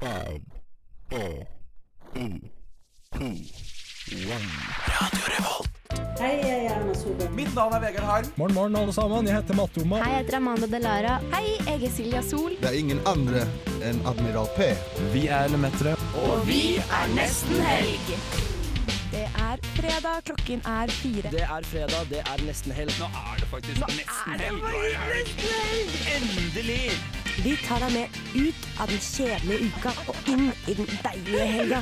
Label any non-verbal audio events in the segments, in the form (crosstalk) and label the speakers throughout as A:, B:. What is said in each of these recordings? A: Five, four, three, two, one.
B: Hei, jeg er Erna Solberg.
C: Mitt navn er Vegard Harm.
D: Morgen, morgen, alle sammen. Jeg heter Matte Oma.
E: Hei, jeg heter Amanda Delara. Hei, jeg er Silja Sol.
F: Det er ingen andre enn Admiral P.
D: Vi er Lemetere.
E: Og vi er nesten helg. Det er fredag, klokken er fire.
C: Det er fredag, det er nesten helg. Nå er det faktisk nesten helg. Endelig!
G: Vi tar deg med ut av den kjedelige uka og inn i den deilige helga.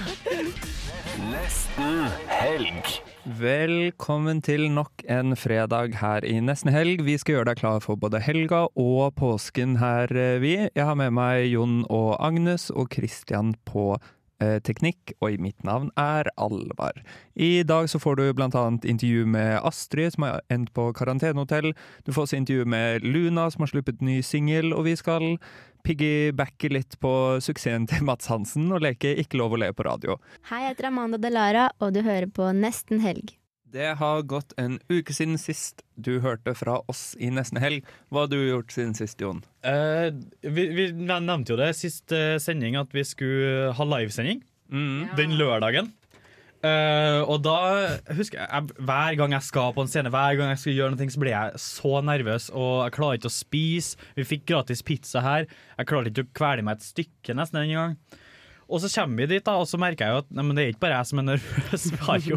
H: Velkommen til nok en fredag her i Nesten Helg. Vi skal gjøre deg klar for både helga og påsken her, eh, vi. Jeg har med meg Jon og Agnes og Christian på eh, teknikk, og mitt navn er Alvar. I dag så får du blant annet intervju med Astrid, som har endt på karantenehotell. Du får også intervju med Luna, som har sluppet ny singel, og vi skal piggybacke litt på suksessen til Mats Hansen og leke Ikke lov å le på radio.
E: Hei, jeg heter Amanda Delara, og du hører på Nesten helg.
H: Det har gått en uke siden sist du hørte fra oss i Nesten Helg. Hva har du gjort siden sist, Jon?
I: Eh, vi, vi nevnte jo det sist eh, sending at vi skulle ha livesending
H: Mm.
I: den lørdagen. Eh, og da husker jeg, jeg Hver gang jeg skal på en scene, Hver gang jeg skal gjøre noe, så blir jeg så nervøs. Og jeg klarer ikke å spise. Vi fikk gratis pizza her. Jeg klarte ikke å kvele meg et stykke nesten en gang. Og så kommer vi dit, da, og så merker jeg jo at nei, men det er ikke bare jeg som er nervøs. Vi har jo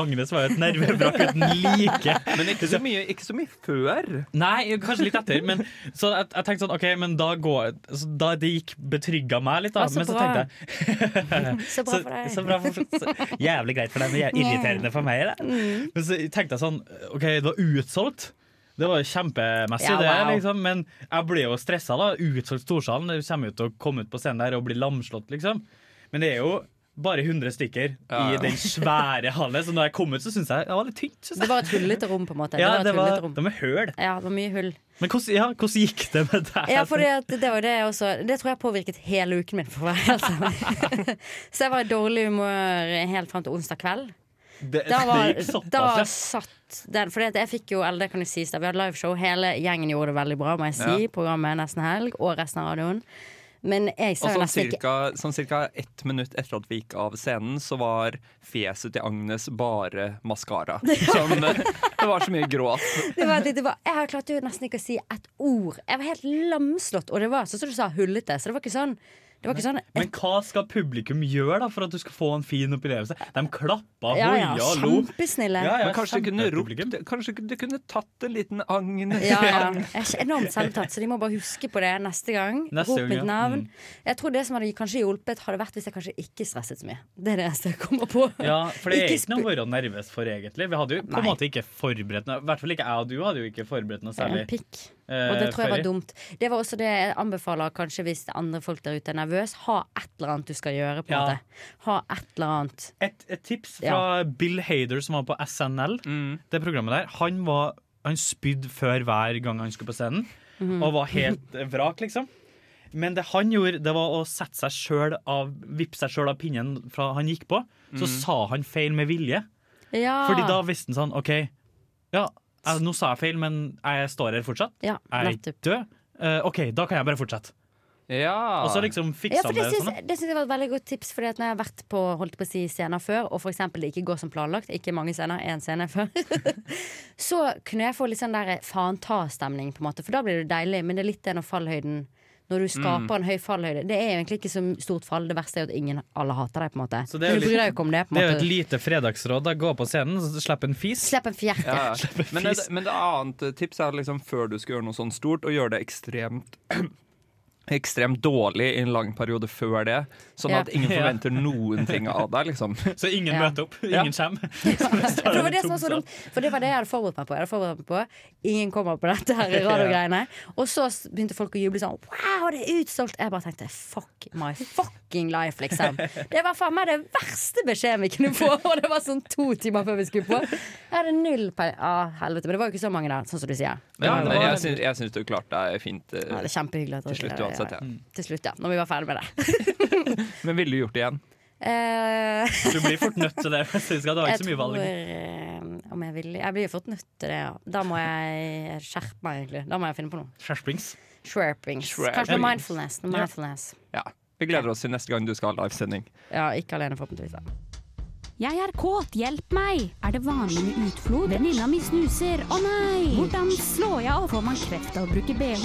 I: Agnes var jo et nervevrak uten like.
H: Men ikke så mye, ikke så mye før.
I: Nei, kanskje litt etter. Men, så jeg, jeg tenkte sånn, ok, men da går så da Det gikk betrygga meg litt, da.
G: Å, så
I: men så
G: bra.
I: tenkte jeg
G: Så bra for deg.
I: Så, så bra for, så, jævlig greit for deg, men jævlig irriterende for meg.
G: Mm.
I: Da. Men så tenkte jeg sånn, ok, det var utsolgt. Det var jo kjempemessig,
G: Ja, wow.
I: det, liksom. men jeg ble jo stressa. da. Utsolgt Storsalen. Det kommer jo til å komme ut på scenen der og bli lamslått, liksom. Men det er jo bare 100 stykker
H: Ja, ja.
I: i den svære hallen, så når jeg kom ut, så syns jeg det var litt tynt. Synes
G: Det
I: jeg.
G: var et hullete rom, på en måte.
I: Ja,
G: det
I: det
G: var et
I: var,
G: hullete rom.
I: det var høl.
G: Ja, det var mye hull.
I: Men hvordan, ja, hvordan gikk det med deg?
G: Ja, for det, det var det jeg også Det tror jeg påvirket hele uken min, for å være helt
I: (laughs)
G: ærlig. Så jeg var i dårlig humør helt fram til onsdag kveld.
I: det, det
G: Da,
I: gikk
G: var,
I: såpass,
G: da
I: ja.
G: satt den For jeg fikk jo, eller det kan jo sies da Vi hadde liveshow, hele gjengen gjorde det veldig bra Må jeg si, programmet Nesten Helg og resten av radioen Men jeg
H: Og
G: sa jo
H: sånn
G: nesten ikke
H: cirka, sånn cirka ett minutt etter at vi gikk av scenen, så var fjeset til Agnes bare
G: (laughs)
H: maskara. Sånn, eh, det var så mye gråt.
G: det var, det var, Jeg klarte jo nesten ikke å si et ord Jeg var helt lamslått, og det var sånn som du sa Hullete, så det var ikke sånn Det var ikke sånn
I: Men hva skal publikum gjøre da for at du skal få en fin opplevelse? De klappa,
G: Ja, ja,
I: hoia, lo.
G: kjempesnille
I: Ja, ja,
H: Men kanskje du kunne
I: kjempepublikum.
H: ropt Kanskje du kunne tatt en liten Agnes?
G: Ja, ja. Jeg er ikke enormt selvtatt, så de må bare huske på det neste gang.
I: Neste
G: Rop
I: gang,
G: mitt
I: ja. Mm.
G: navn. Jeg tror det som hadde kanskje hjulpet, hadde vært hvis jeg kanskje ikke stresset så mye. Det er det eneste jeg kommer på.
I: Ja, for det er
G: Ikke
I: ikke noe å være nervøs for, egentlig. Vi hadde jo på en
G: Nei.
I: måte ikke forberedt noe. I hvert fall ikke jeg og du hadde jo ikke forberedt noe
G: En
I: særlig.
G: pikk.
I: eh,
G: Og det tror jeg
I: forrige.
G: var dumt. Det var også det jeg anbefaler kanskje hvis andre folk der ute er nervøs. Ha et eller annet du skal gjøre. på en
I: Ja.
G: måte. Ha et eller annet.
I: Et, et tips fra Bill Hader, som var på SNL, det programmet der. Han, var- han spydde før hver gang han skulle på scenen,
G: Mhm.
I: og var helt eh, vrak, liksom. Men det han gjorde, det var å sette seg selv av, vippe seg sjøl av pinnen fra han gikk på. Så sa han feil med vilje.
G: Ja.
I: Fordi da visste han sånn OK, ja, jeg, nå sa jeg feil, men jeg står her fortsatt.
G: ja,
I: Jeg er
G: nettopp.
I: ikke død. Eh, OK, da kan jeg bare fortsette.
H: Ja.
I: Og så liksom
G: Ja,
I: fiksa
G: for
I: han
G: det
I: det.
G: syns
I: Sånn.
G: det syns jeg var et veldig godt tips. Fordi at når jeg har vært på holdt på å si scener før, og f.eks. det ikke går som planlagt, ikke mange scener, én scene før, (laughs) så kunne jeg få litt sånn der faen ta-stemning, på en måte. For da blir det deilig, men det er litt det når fallhøyden når
I: Mm.
G: du skaper en høy fallhøyde. Det er jo egentlig ikke så stort fall. Det verste er jo at ingen alle hater deg, på en måte.
I: Så det er jo
G: Men du bryr
I: litt-
G: deg jo ikke om det. på
I: Det er
G: en
I: jo et
G: måte
I: lite fredagsråd. Da Gå på scenen, så slipp en fis.
G: Slipp en fjert.
H: Ja. (laughs) Men, det, men det annet tips er liksom før du skal gjøre noe sånt stort, å gjøre det ekstremt (clears throat) Ekstremt dårlig i en lang periode før det, sånn
G: Ja.
H: at ingen forventer noen ting av deg. liksom (laughs)
I: Så ingen
G: Ja.
I: møter opp, (laughs) ingen kommer. Så det står
G: For det
I: en
G: var det som var
I: tom sal.
G: så dumt. For det var det jeg hadde forberedt meg på. Jeg hadde forberedt meg på Ingen kommer på dette her radiogreiene. Og så s- begynte folk å juble sånn Wow, det er utsolgt! Jeg bare tenkte fuck my fucking life, liksom. Det var faen meg det verste beskjeden vi kunne få, og det var sånn to timer før vi skulle på. Jeg hadde null pe... Ah, helvete. Men det var jo ikke så mange der, sånn som du sier.
H: Men,
I: Ja, det
H: men
I: var-
H: jeg, syns, jeg syns du klarte deg fint. eh,
G: Ja, det er kjempehyggelig. at
H: Til
G: dere- Mm,
H: slutt uansett, ja.
G: Til slutt, ja. Når vi var ferdig med det.
H: Men ville du gjort det igjen?
G: Eh,
I: Du blir fort nødt til det. hvis du skal. Du har
G: jeg
I: ikke så mye valg.
G: tror eh, om jeg vil Jeg blir jo fått nødt til det. Ja. Da må jeg skjerpe meg, egentlig. Da må jeg finne på noe.
I: Skjerpings.
G: Sherpings.
H: Sherpings.
G: Kanskje noe mindfulness. Noe
I: Ja.
G: mindfulness.
H: Ja. Vi gleder oss til neste gang du skal ha livesending.
G: Ja, ikke alene, forhåpentligvis. da.
J: Jeg er kåt, hjelp meg! Er det vanlig med utflod? Venninna mi snuser, å nei! Hvordan slår jeg av? Får man kreft av å bruke bh?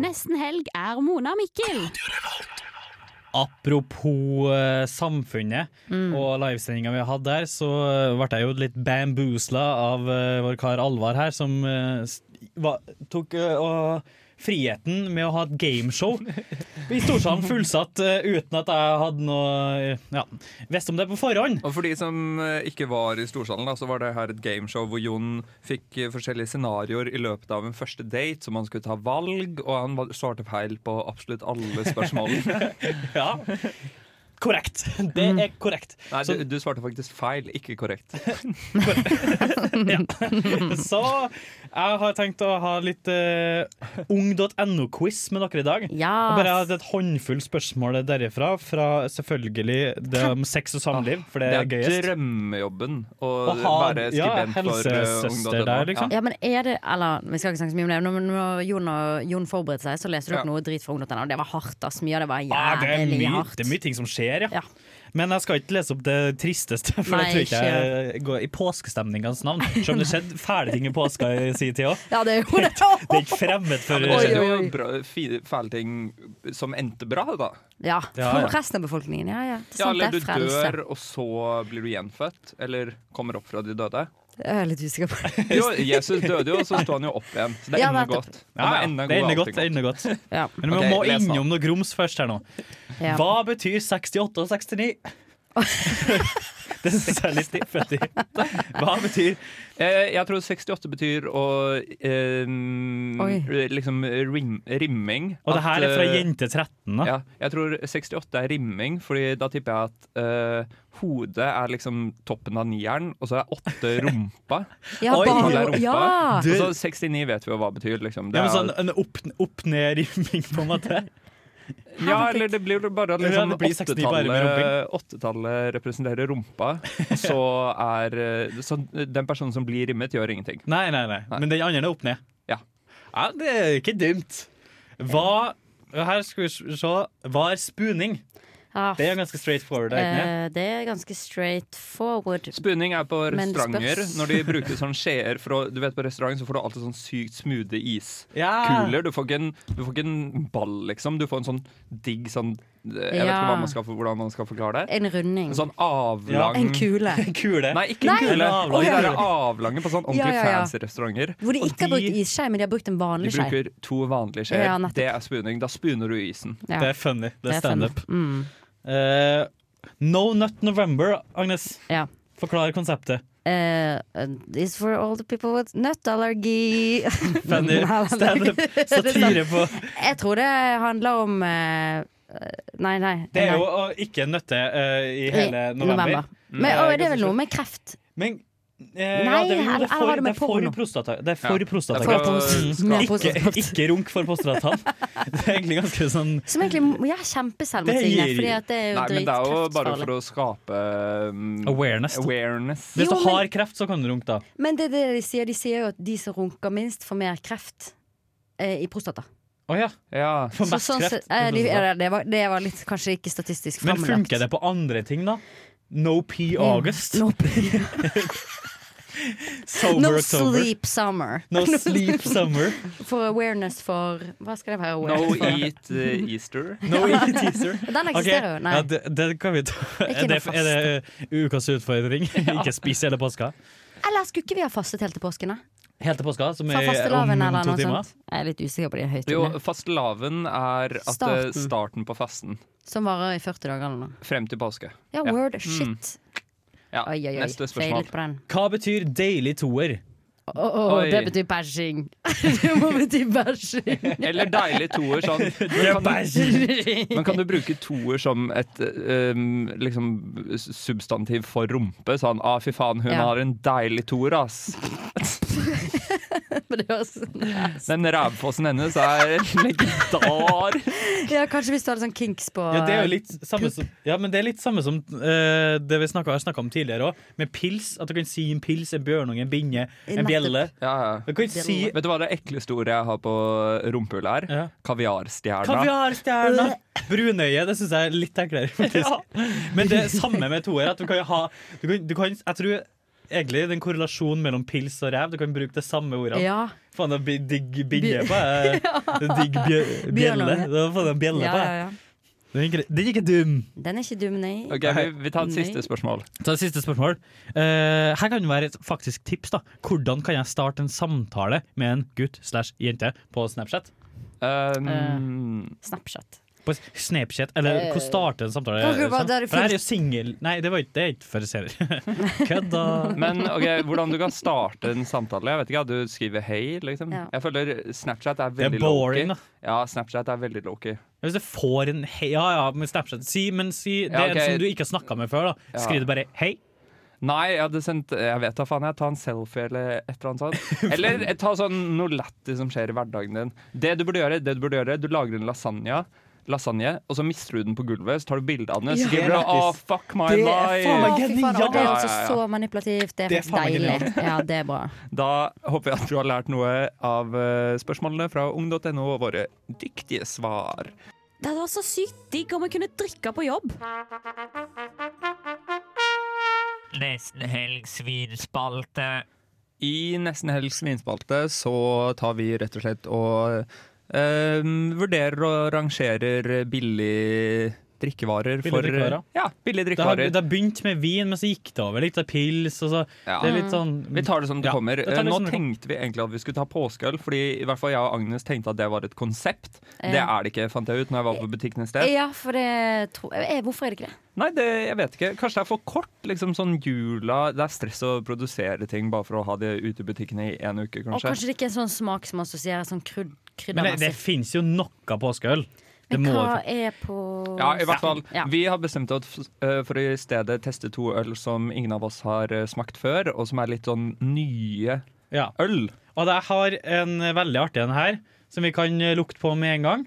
J: Nesten helg er Mona og Mikkel.
I: Apropos eh, samfunnet
G: Mm.
I: og livesendinga vi har hatt der, så eh, ble jeg jo litt bamboozla av eh, vår kar Alvar her, som eh, s- va, tok eh, og friheten med å ha et (laughs) gameshow. I Storsalen fullsatt eh, uten at jeg hadde noe Ja, visste om det på forhånd.
H: Og for de som eh, ikke var i storsalen, da, så var det her et gameshow hvor Jon fikk eh, forskjellige scenarioer i løpet av en første date, som han skulle ta valg, og han var- svarte feil på absolutt alle (laughs) spørsmålene.
I: Ja. Korrekt. Det
G: Mm.
I: er korrekt.
H: Nei,
I: Så- Eh,
H: du, du svarte faktisk feil, ikke korrekt.
G: (laughs)
I: Så jeg har tenkt å ha litt eh, ung.no-quiz med dere i dag.
G: Ja!
I: Og bare hatt et håndfull spørsmål derifra, fra selvfølgelig det om sex og samliv, for det
H: Det
I: er
H: er
I: gøyest.
H: drømmehjobben å
I: Å ha-
H: være
I: ja,
H: skribent for eh,
I: helsesøster
H: ungdom.
I: der, liksom.
G: Ja, men er det Eller, vi skal ikke snakke så mye om det, men når Jon, og, Jon forberedte seg, så leste du opp
H: Ja.
G: noe drit fra ung.no. og Det var hardt, ass. Mye av det var
I: Ah, det, er
G: jævlig
I: mye,
G: hardt.
I: det er mye ting som skjer, ja.
G: Ja.
I: Men jeg skal ikke lese opp det tristeste, for
G: Nei,
I: det tror jeg ikke jeg går i påskestemningens navn. Selv om det skjedde fæle ting i påska i sin tid òg.
G: Ja, det er jo det.
I: (laughs) Det er ikke fremmed for
H: Men det skjedde
G: Oi,
H: jo
G: oi, oi.
H: bra- fi- fæle ting som endte bra, da.
G: Ja,
I: Ja,
G: for
I: ja.
G: resten av befolkningen. Ja, ja. Det er
H: Ja,
G: sant,
H: eller
G: det
H: du
G: er frelse.
H: dør, og så blir du gjenfødt. Eller kommer opp fra de
I: (laughs)
H: døde.
G: Jeg er litt usikker på det.
H: Jo, Jesus døde jo, og så sto han jo opp igjen. Så det
G: Ja,
H: ender
G: nettopp.
H: godt.
I: Ja,
H: Han
I: ja,
H: ender
I: det
H: god,
I: ender
H: alltid
I: godt. det ender godt.
G: Ja,
I: Men vi
H: Ok,
I: må
H: les nå.
I: innom noe grums først her nå.
G: ja.
I: Hva betyr 68 og 69? det synes jeg er litt stiffet. Hva betyr
H: Eh, jeg tror 68 betyr å eh,
G: Oi.
H: liksom rim, rimming.
I: Og det her er fra
H: At, eh,
I: jente 13, da.
H: Ja, jeg tror 68 er rimming, Fordi da tipper jeg at eh, hodet er liksom toppen av nieren, og så er
I: (laughs)
H: åtte rumpa.
G: ja,
I: Oi,
G: bare-
H: Alle er rumpa.
G: ja.
H: Og så 69 vet vi jo hva betyr, liksom. Det
I: Ja, men
H: er-
I: sånn en opp- opp-ned-rimming, på en måte.
H: (laughs) Ja, eller det blir jo bare at
I: Ja,
H: liksom,
I: det blir 69 bare med
H: åttetallet, åttetallet representerer rumpa, og så er eh, Så den personen som blir rimmet, gjør ingenting.
I: Nei, nei, nei. Men den andre er opp-ned.
H: Ja.
I: ja. Det er ikke dumt. Hva Her skal vi se. Hva er spooning?
G: Ja,
I: Det er ganske straight forward. er det ikke det?
G: Ah. eh, det er ganske straight forward.
H: Spooning er på
G: Men
H: restauranter.
G: spørs-
H: Når de bruker sånn skjeer for å, Du vet, på restaurant så får du alltid sånn sykt smoothie iskuler.
G: Ah.
I: Ja. (laughs)
H: Du, får ikke en- du får ikke en ball, liksom. Du får en sånn digg sånn Jeg vet ikke
G: Ja.
H: hva man skal, for- hvordan man skal forklare det.
G: En runding.
H: En sånn
I: Ja.
H: avlang
G: En kule.
I: (laughs) Kule.
H: Nei, ikke en
G: Nei.
H: kule.
I: En
H: Og
I: avlang
H: de der
I: kule.
H: avlange på sånn ordentlig
G: Ja, ja, ja.
H: fancy restauranter.
G: Hvor de
H: Og
G: ikke har
H: de-
G: brukt isskei, men de har brukt en
H: De
G: vanlig skei.
H: bruker to vanlige skjeer.
G: Ja, nettopp.
H: det er spooning. Da spooner du isen.
G: Ja,
I: Det er funny. Det er
G: det er funny.
I: standup.
G: Mm.
I: Eh, no Nut November, Agnes.
G: Ja.
I: Forklar konseptet.
G: Eh, this for all the people with nut
I: (laughs)
G: allergy.
I: Funny
G: (laughs)
I: standup. Satire på
G: sånn, Jeg tror det handler om eh, Nei, nei.
I: Det er
G: nei.
I: jo å ikke nøtte eh, i hele
G: I
I: november.
G: Men,
I: Mm.
G: å, er det vel noe med kreft?
I: Men eh, ja, det,
G: Nei,
I: er jo-
G: her-
I: det er
G: her
I: for,
G: har de
I: det
G: med
I: er for
G: porno.
I: prostata. Det er
H: Ja.
I: for prostata.
H: Det er for-
I: Mm.
G: Med
I: Ikke,
G: prostata.
I: ikke runk for
G: (laughs)
I: prostataen. Det er egentlig ganske sånn
G: Som egentlig ja, kjempeselvmotsigende,
I: Det gir-
G: fordi at det er jo
H: Nei, men
G: drit
H: det er jo bare
G: kreftfarlig.
H: for å skape um,
I: awareness.
H: awareness.
I: Hvis du
G: Jo, men-
I: har kreft, så kan du runke, da.
G: Men det er det de sier. De sier jo at de som runker minst, får mer kreft. eh, I prostata.
I: Å ja.
H: Ja.
I: For
G: Så
I: mest
G: sånn
I: kreft.
G: sett- eh, de, ja, det, var, det var litt kanskje ikke statistisk
I: Men
G: fremlagt.
I: funker det på andre ting, da? No P August. (laughs)
G: No,
I: Sober
G: no
I: October.
G: sleep summer. (laughs)
I: No sleep summer.
G: For awareness for Hva skal det være?
H: No
G: Awareness for?
H: eat eh, Easter.
I: No E eat teaser.
G: Den eksisterer jo. Nei.
I: Ja, det, det kan vi ta.
G: Ikke
I: Er det,
G: noe
I: er det uh, ukas
G: (laughs)
I: utfordring? Ikke spis hele påska.
G: Eller skulle ikke vi ha fastet helt til påsken? da?
I: Helt til påska, som
G: Fra
I: er
G: fastelavn
I: om
G: eller
I: to
G: noe
I: timer.
G: sånt? Jeg er litt usikker på de
H: Jo,
G: høytidene.
H: fastelavn er at eh,
G: Starten.
H: starten på fasten.
G: Som varer i 40 dager eller noe.
H: Frem til påske.
G: Ja,
H: Ja.
I: Mm.
G: word. Shit.
H: Ja,
G: Oi, oi, oi.
H: Neste spørsmål.
G: Feilet på den.
I: Hva betyr deilig toer?
G: Å, å, å,
H: Oi.
G: det betyr bæsjing. (laughs) det må bety bæsjing. (laughs)
H: Eller deilig toer sånn. (laughs) Men kan, du, men kan du bruke toer som et eh, um, liksom substantiv for rumpe? Sånn ah, fy faen, hun
G: Ja.
H: har en deilig toer, ass.
G: Men det høres sånn ut.
H: Den rævfossen hennes (laughs) er legendar.
G: Ja, kanskje hvis du hadde sånn kinks på
I: Ja, det er jo litt samme som, ja, men det er litt samme som eh, det vi snakket, har snakka om tidligere òg, med pils. At du kan si en pils, en bjørnunge, en binne, en
G: Nettopp.
I: bjelle.
H: Ja,
I: Du
H: ja.
I: kan ikke si
H: Vet du hva det ekleste ordet jeg har på rumpehullet er?
I: Ja.
H: Kaviarstjerna.
I: Kaviarstjerna! (laughs) Brunøye, det syns jeg er litt
G: (laughs)
I: enklere, faktisk. Men det er samme med toer. At du kan ha du kan, du kan, Jeg tror egentlig det er en korrelasjon mellom pils og ræv. Du kan bruke det samme ordet.
G: Ja.
I: Faen, det blir digg binne på
G: (laughs)
I: jeg. Det er Digg bjø, bjelle.
G: Bjørnunge.
I: Det var faen en bjelle
G: Ja,
I: på
G: ja,
I: jeg.
G: ja.
I: Den er ikke- Den er ikke dum.
G: Den er ikke dum, nei.
H: Ok, vi, vi tar et siste
G: Nei.
H: spørsmål.
I: Ta det siste spørsmål. Eh, her kan det være et faktisk tips. da Hvordan kan jeg starte en samtale med en gutt slash jente på Snapchat?
H: Um,
G: Snapchat.
I: På Snapchat, eller hvordan starte en samtale?
G: Eh, Kan ikke du bare
I: sånn?
G: dra det
I: For her er jo
G: fullt-
I: singel Nei, det var ikke, det er ikke for
G: (laughs)
I: serier. Kødda.
H: Men ok, hvordan du kan starte en samtale? Jeg vet ikke, Du skriver 'hei', liksom.
G: Ja.
H: Jeg føler Snapchat er
I: Det er
H: veldig low-key.
I: boring, da.
H: Ja, Snapchat er veldig low-key.
I: Hvis du får en hei Ja ja, med Snapchat. Si, men si det
H: Ja,
I: er
H: ok.
I: en som du ikke har snakka med før. da
H: Ja.
I: Skriv det bare 'hei'.
H: Nei, jeg hadde sendt Jeg vet da faen, jeg. Ta en selfie eller et eller annet
I: (laughs)
H: sånt. Eller ta sånn noe lættis som skjer i hverdagen din. Det du burde gjøre, det du burde gjøre, du lager en lasagne. Lasagne, og så mister du den på gulvet, så tar du bilde av den. Så skriver du
I: Ja.
H: 'Å, fuck my
I: Det er
H: life'.
I: faen meg
G: Å, fy faen,
I: genialt.
G: og det er
H: Ja, ja,
G: altså
H: ja.
G: så manipulativt. Det
I: Det er
G: er
I: faen meg
G: faktisk deilig. Ja, det er bra.
H: Da håper jeg at du har lært noe av eh, spørsmålene fra ung.no og våre dyktige svar.
J: Det hadde vært så sykt digg om jeg kunne drikke på jobb.
K: Nesten helg svinspalte.
H: I nesten helg svinspalte så tar vi rett og slett og eh, vurderer og rangerer billig drikkevarer
I: Billig
H: for
I: drikkevarer.
H: Ja, billige
I: Det har,
H: drikkevarer.
I: det har begynt med vin, men så gikk det over litt. Det er pils og så
H: Ja. Mm.
I: Det er litt sånn
H: Vi tar det som det
I: Ja,
H: kommer. Eh,
I: vi tar det
H: Nå
I: som det kommer.
H: tenkte vi egentlig at vi skulle ta påskeøl, fordi i hvert fall jeg og Agnes tenkte at det var et konsept. Det
G: Ja. Eh,
H: er det ikke, fant jeg ut når jeg var på butikken i sted.
G: Ja, for det tror jeg eh, Hvorfor er det ikke det?
H: Nei, det, jeg vet ikke. Kanskje det er for kort. liksom sånn jula Det er stress å produsere ting bare for å ha det ute i butikkene i en uke,
G: Og
H: kanskje.
G: kanskje det ikke er en sånn smak som assosierer sånn krydd,
I: Men det, det
G: kryddermessig.
H: altså.
I: fins jo noe påskeøl. Det
G: Men
I: må
G: hva er på
H: Ja, i hvert fall.
G: Ja.
H: Vi har bestemt oss eh, for å i stedet teste to øl som ingen av oss har eh, smakt før, og som er litt sånn nye
I: ja.
H: øl.
I: Og jeg har en veldig artig en her, som vi kan eh, lukte på med en gang.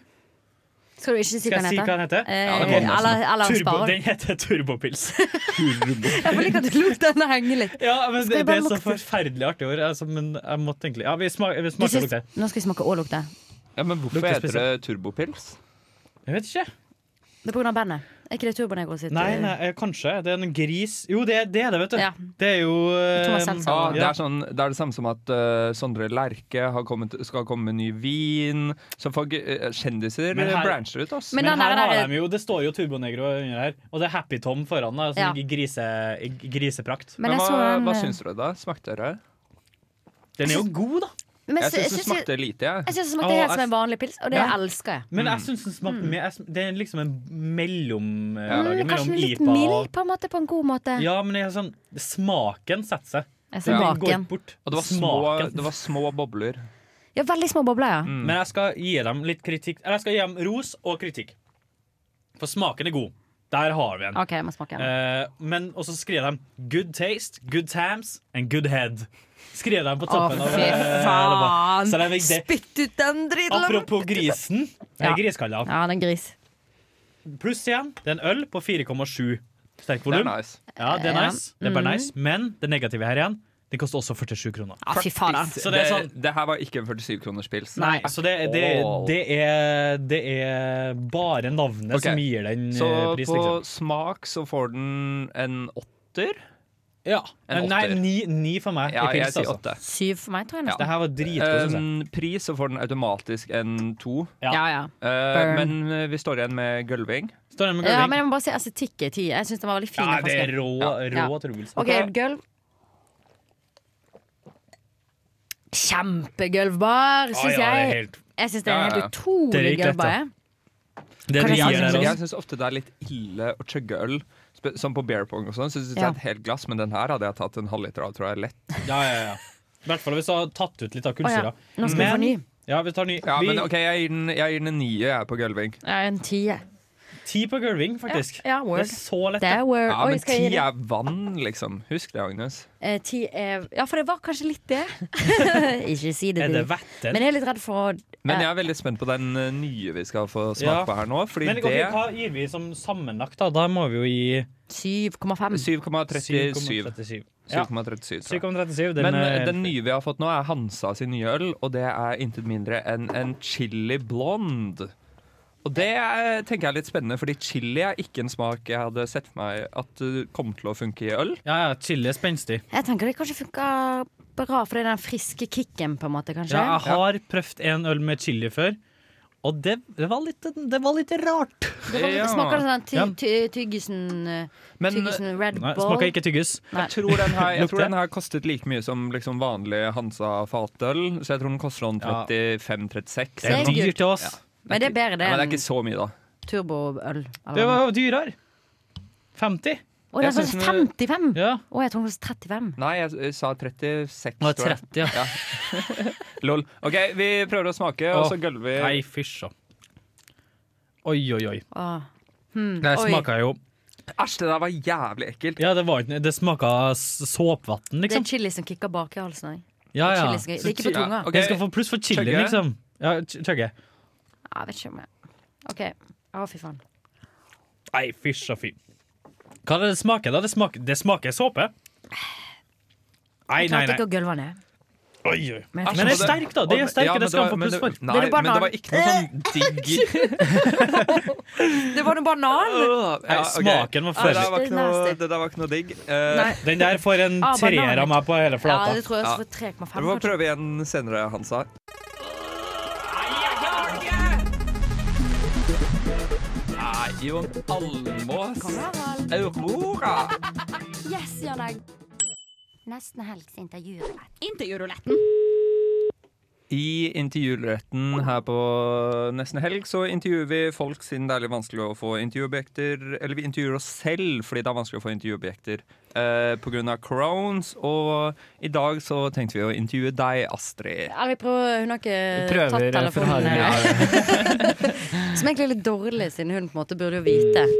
G: Skal du ikke si hva
I: Skal jeg
G: den
I: si hva
G: heter?
I: den heter?
G: Eh,
H: Ja, det må du nesten.
G: eller eller
I: Turbo,
G: sparer
I: den heter Turbopils.
G: Jeg får like at du lot den henge litt.
I: Ja, men
G: Skal
I: det,
G: jeg
I: det
G: bare
I: er så
G: lukte?
I: forferdelig artig ord. Altså, men jeg måtte egentlig Ja, vi smaker, vi
G: Du
I: smaker og
G: syns-
I: lukter.
G: Nå skal vi smake og lukte.
H: Ja, Men hvorfor
I: Lukter
H: heter det turbopils?
I: Jeg vet ikke.
G: Det er på grunn av bandet. Er ikke det Turbonegro sitt?
I: Nei,
G: eh,
I: nei, eh, kanskje. Det er en gris Jo, det, det er det, vet du.
G: Ja.
I: Det er jo eh,
G: Thomas Seltzer.
H: Ja,
G: Ja.
H: det, er sånn, det er det samme som at eh, Sondre Lerche har kommet, skal komme med ny vin. Så folk, eh, kjendiser
I: Men her-
H: brancher ut, ass.
G: Men
I: Men
G: den
I: her
G: der-
I: har
G: der-
I: de jo Det står jo Turbonegro under her. Og det er Happy Tom foran, da, som
G: Ja.
I: ligger i grise, i griseprakt.
G: Men, jeg
H: hva,
G: så den
H: hva
G: eh,
H: syns dere, da? Smakte dere?
I: Den er jo god, da.
G: men
H: Jeg
G: sy-
H: syns det
G: syns
H: smakte lite, jeg.
G: Jeg syns det smakte
I: Å,
G: helt som
I: jeg-
G: en vanlig pils, og det
I: Ja.
G: elsker jeg.
I: Men jeg syns den smakte mer jeg sm- Det er liksom en
G: Mm,
I: mellomlag.
G: kanskje
I: mellom
G: litt
I: IPA
G: mild eh.
I: og
G: på en måte, på en god måte.
I: Ja, men det er sånn Smaken setter seg.
G: Jeg ser
I: Den går
G: baken.
I: bort.
H: Og det var små,
I: Smaken.
H: det var små bobler.
G: Ja, veldig små bobler, ja.
I: Men jeg skal gi dem litt kritikk Eller jeg skal gi dem ros og kritikk. For smaken er god. Der har vi en.
G: OK, jeg må smake. den.
I: Eh, men også skriver de 'good taste', 'good times' and 'good head'. Skriver de på toppen. av, eh, leppa. Så det er det.
G: Spytt ut den dritlammen!
I: Apropos grisen.
G: Ja.
I: Ja. Griskalla.
G: Ja, den gris.
I: Pluss igjen, det er en øl på 4,7 sterk
H: Det er
I: volum.
H: nice.
I: Ja, det er
G: Ja. Mm.
I: nice. Det er bare nice. Men det negative her igjen, det koster også 47 kroner.
G: Ja, fy faen.
I: Så det er sånn
H: det, her var ikke en 47-kronerspils.
I: Nei, så det, det, det, er, det er bare navnet
H: Ok.
I: som gir den
H: Så
I: eh, pris,
H: på
I: liksom.
H: smak så får den en åtter.
I: Ja.
H: en
I: Nei,
H: åtter.
I: ni, ni for meg.
H: Ja,
I: i
H: jeg
I: pils,
H: sier
I: altså.
H: åtte.
G: Syv for meg, tror jeg.
H: Ja.
G: nesten.
I: Det her var dritgodt, synes jeg.
H: Um, pris så får den automatisk en to.
I: Ja.
G: Ja, ja.
H: Eh,
G: Burn.
H: men eh, vi står igjen med gulving.
I: Står det med
G: ja,
I: gulving?
G: men jeg må bare si estetikk er ti. Jeg syns den var veldig fin.
I: Ja,
G: den
I: det er
G: flasken.
I: rå,
G: Ja.
I: rå trubelse.
G: OK, gulv. Kjempegulvbar,
I: Ja, ja,
G: syns
I: det er
G: jeg.
I: helt
G: Jeg syns det er en
H: Ja, ja.
G: helt utrolig
I: Det gikk lett,
G: gulvbar. jeg.
I: Det
G: Kanskje
I: rier
G: jeg
I: der
G: synes-
I: også.
H: Jeg syns ofte det er litt ille å chugge øl, spe- som på beer pong og sånn. Så synes jeg
G: Ja.
H: et helt glass, men den her hadde jeg tatt en halvliter av, tror jeg. Lett.
I: Ja, ja, ja. I hvert fall hvis du har tatt ut litt av
G: Å ja.
I: kullsyra.
G: Nå skal vi få ny.
I: Ja, vi tar ny.
H: Ja,
I: vi,
H: men ok, jeg gir den, jeg gir den en nier, jeg, på gulving.
G: Ja, en tie.
I: Ti på gulving, faktisk.
G: Ja, ja, word.
I: Det er så lett.
G: Det er word.
H: Ja,
G: Oi,
H: men
G: skal jeg gi
H: ti
G: det?
H: er vann, liksom. Husk det, Agnes.
G: Eh, ti er Ja, for det var kanskje litt
I: (laughs)
G: det. Ikke si det,
H: Er det
G: du.
H: vettet?
G: Men jeg er litt redd for å
H: Men jeg er veldig spent på den eh, nye vi skal få smake
I: Ja.
H: på her nå. Fordi
I: Men ok,
H: det
I: hva gir vi som sammenlagt, da? Da må vi jo gi
G: 7,5.
H: 7,37.
I: 7,37. Ja.
H: 7,37. tror jeg.
I: 7,37. Den
H: Men
I: er
H: eh, den nye vi har fått nå, er Hansa sin nye øl, og det er intet mindre enn en chili blonde. Og det eh, tenker jeg er litt spennende, fordi chili er ikke en smak jeg hadde sett for meg at eh, kom til å funke i øl.
I: Ja, ja, chili er spenstig.
G: Jeg tenker det kanskje funker bra, for det er den friske kicken, på en måte, kanskje.
I: Ja, jeg har prøvd en øl med chili før, og det, det, var, litt, det var litt rart.
G: Det var- det smaker sånn ty,
I: Ja. eh,
G: ty, tyggisen, eh,
H: Men- eh,
G: tyggisen Red
I: Nei,
G: Bull.
I: smaker ikke tyggis.
G: Nei.
H: Jeg tror den her, jeg tror
I: Lukter?
H: den her kostet like mye som liksom vanlig Hansa fatøl, så jeg tror den koster sånn
I: Ja.
H: 35-36.
G: Det er
H: eller noe.
G: dyrt.
I: Dyrt til oss.
H: Ja.
G: Men det er bedre det
H: Ja, men det er
G: enn
H: ikke så mye, da.
G: turboøl. eller
I: Det
G: noe.
I: var dyrere. 50.
G: Å, det
H: jeg
G: er
H: synes
G: sånn
H: den-
G: 55!
I: Ja.
G: Å, jeg tror det var 35.
H: Nei, jeg, jeg sa 36.
I: Nå er
H: tror jeg.
I: 30, ja.
H: (laughs) Lol. OK, vi prøver å smake, og
I: Åh,
H: så gølver vi.
I: Nei, fysj. så. Oi, oi, oi.
G: Å.
I: Det
G: Oi.
I: smaka jo
H: Æsj, det der var jævlig ekkelt.
I: Ja, det, var, ikke- det smaka såpevann,
G: Det er
I: liksom.
G: chili som kicker bak i halsen òg.
I: Ja, ja.
G: chili som- det er ikke på
H: Ja,
G: tunga.
H: ok.
I: Den skal få pluss for chili,
H: Chugge.
I: liksom. Ja, ch- chugge.
G: Ja, jeg vet ikke om jeg OK. Å, fy faen.
I: Nei, fysj og fy. Hva er det det smaker, da? Det smaker, det smaker såpe. Nei,
G: Jeg
I: nei,
G: klarte
I: nei.
G: ikke å gølve ned.
I: Oi, oi.
H: Æsj,
G: Men jeg
I: Men
H: og
I: det er sterk, da. Det er
H: Altså, og-
I: sterk,
H: ja,
I: og
H: men
I: det skal
H: var-
I: han få
H: men
I: pluss
H: det-
I: for.
H: Nei,
G: Vil du
H: men det
G: banan?
H: var ikke noe
I: (laughs)
H: sånn digg
G: Det var en banan!
I: Nei, smaken var
H: Det
I: forferdelig.
H: der var ikke
G: Nasty.
H: noe, det der var ikke noe digg. Eh,
G: Nei.
I: Den der får en
G: Ah,
I: treer
G: banan.
I: av meg på hele
G: Ja,
I: flata.
G: det tror jeg
H: Ja.
G: også får 3,5.
H: Vi får
G: kanskje.
H: prøve igjen senere, Hansa. Nei, Jon Almås. Aurora.
E: Yes, Jan Egg.
J: Nesten helgs intervjurulett.
H: I intervjuretten her på nesten helg så intervjuer vi folk siden det er litt vanskelig å få intervjuobjekter. Eller vi intervjuer oss selv fordi det er vanskelig å få intervjuobjekter eh, pga. crones. Og i dag så tenkte vi å intervjue deg, Astrid.
G: Ja, vi prøver, hun har ikke tatt
B: prøver, eh, for
G: telefonen.
B: harde
G: (laughs) Som egentlig er litt dårlig, siden hun på en måte burde jo vite.
B: Mm.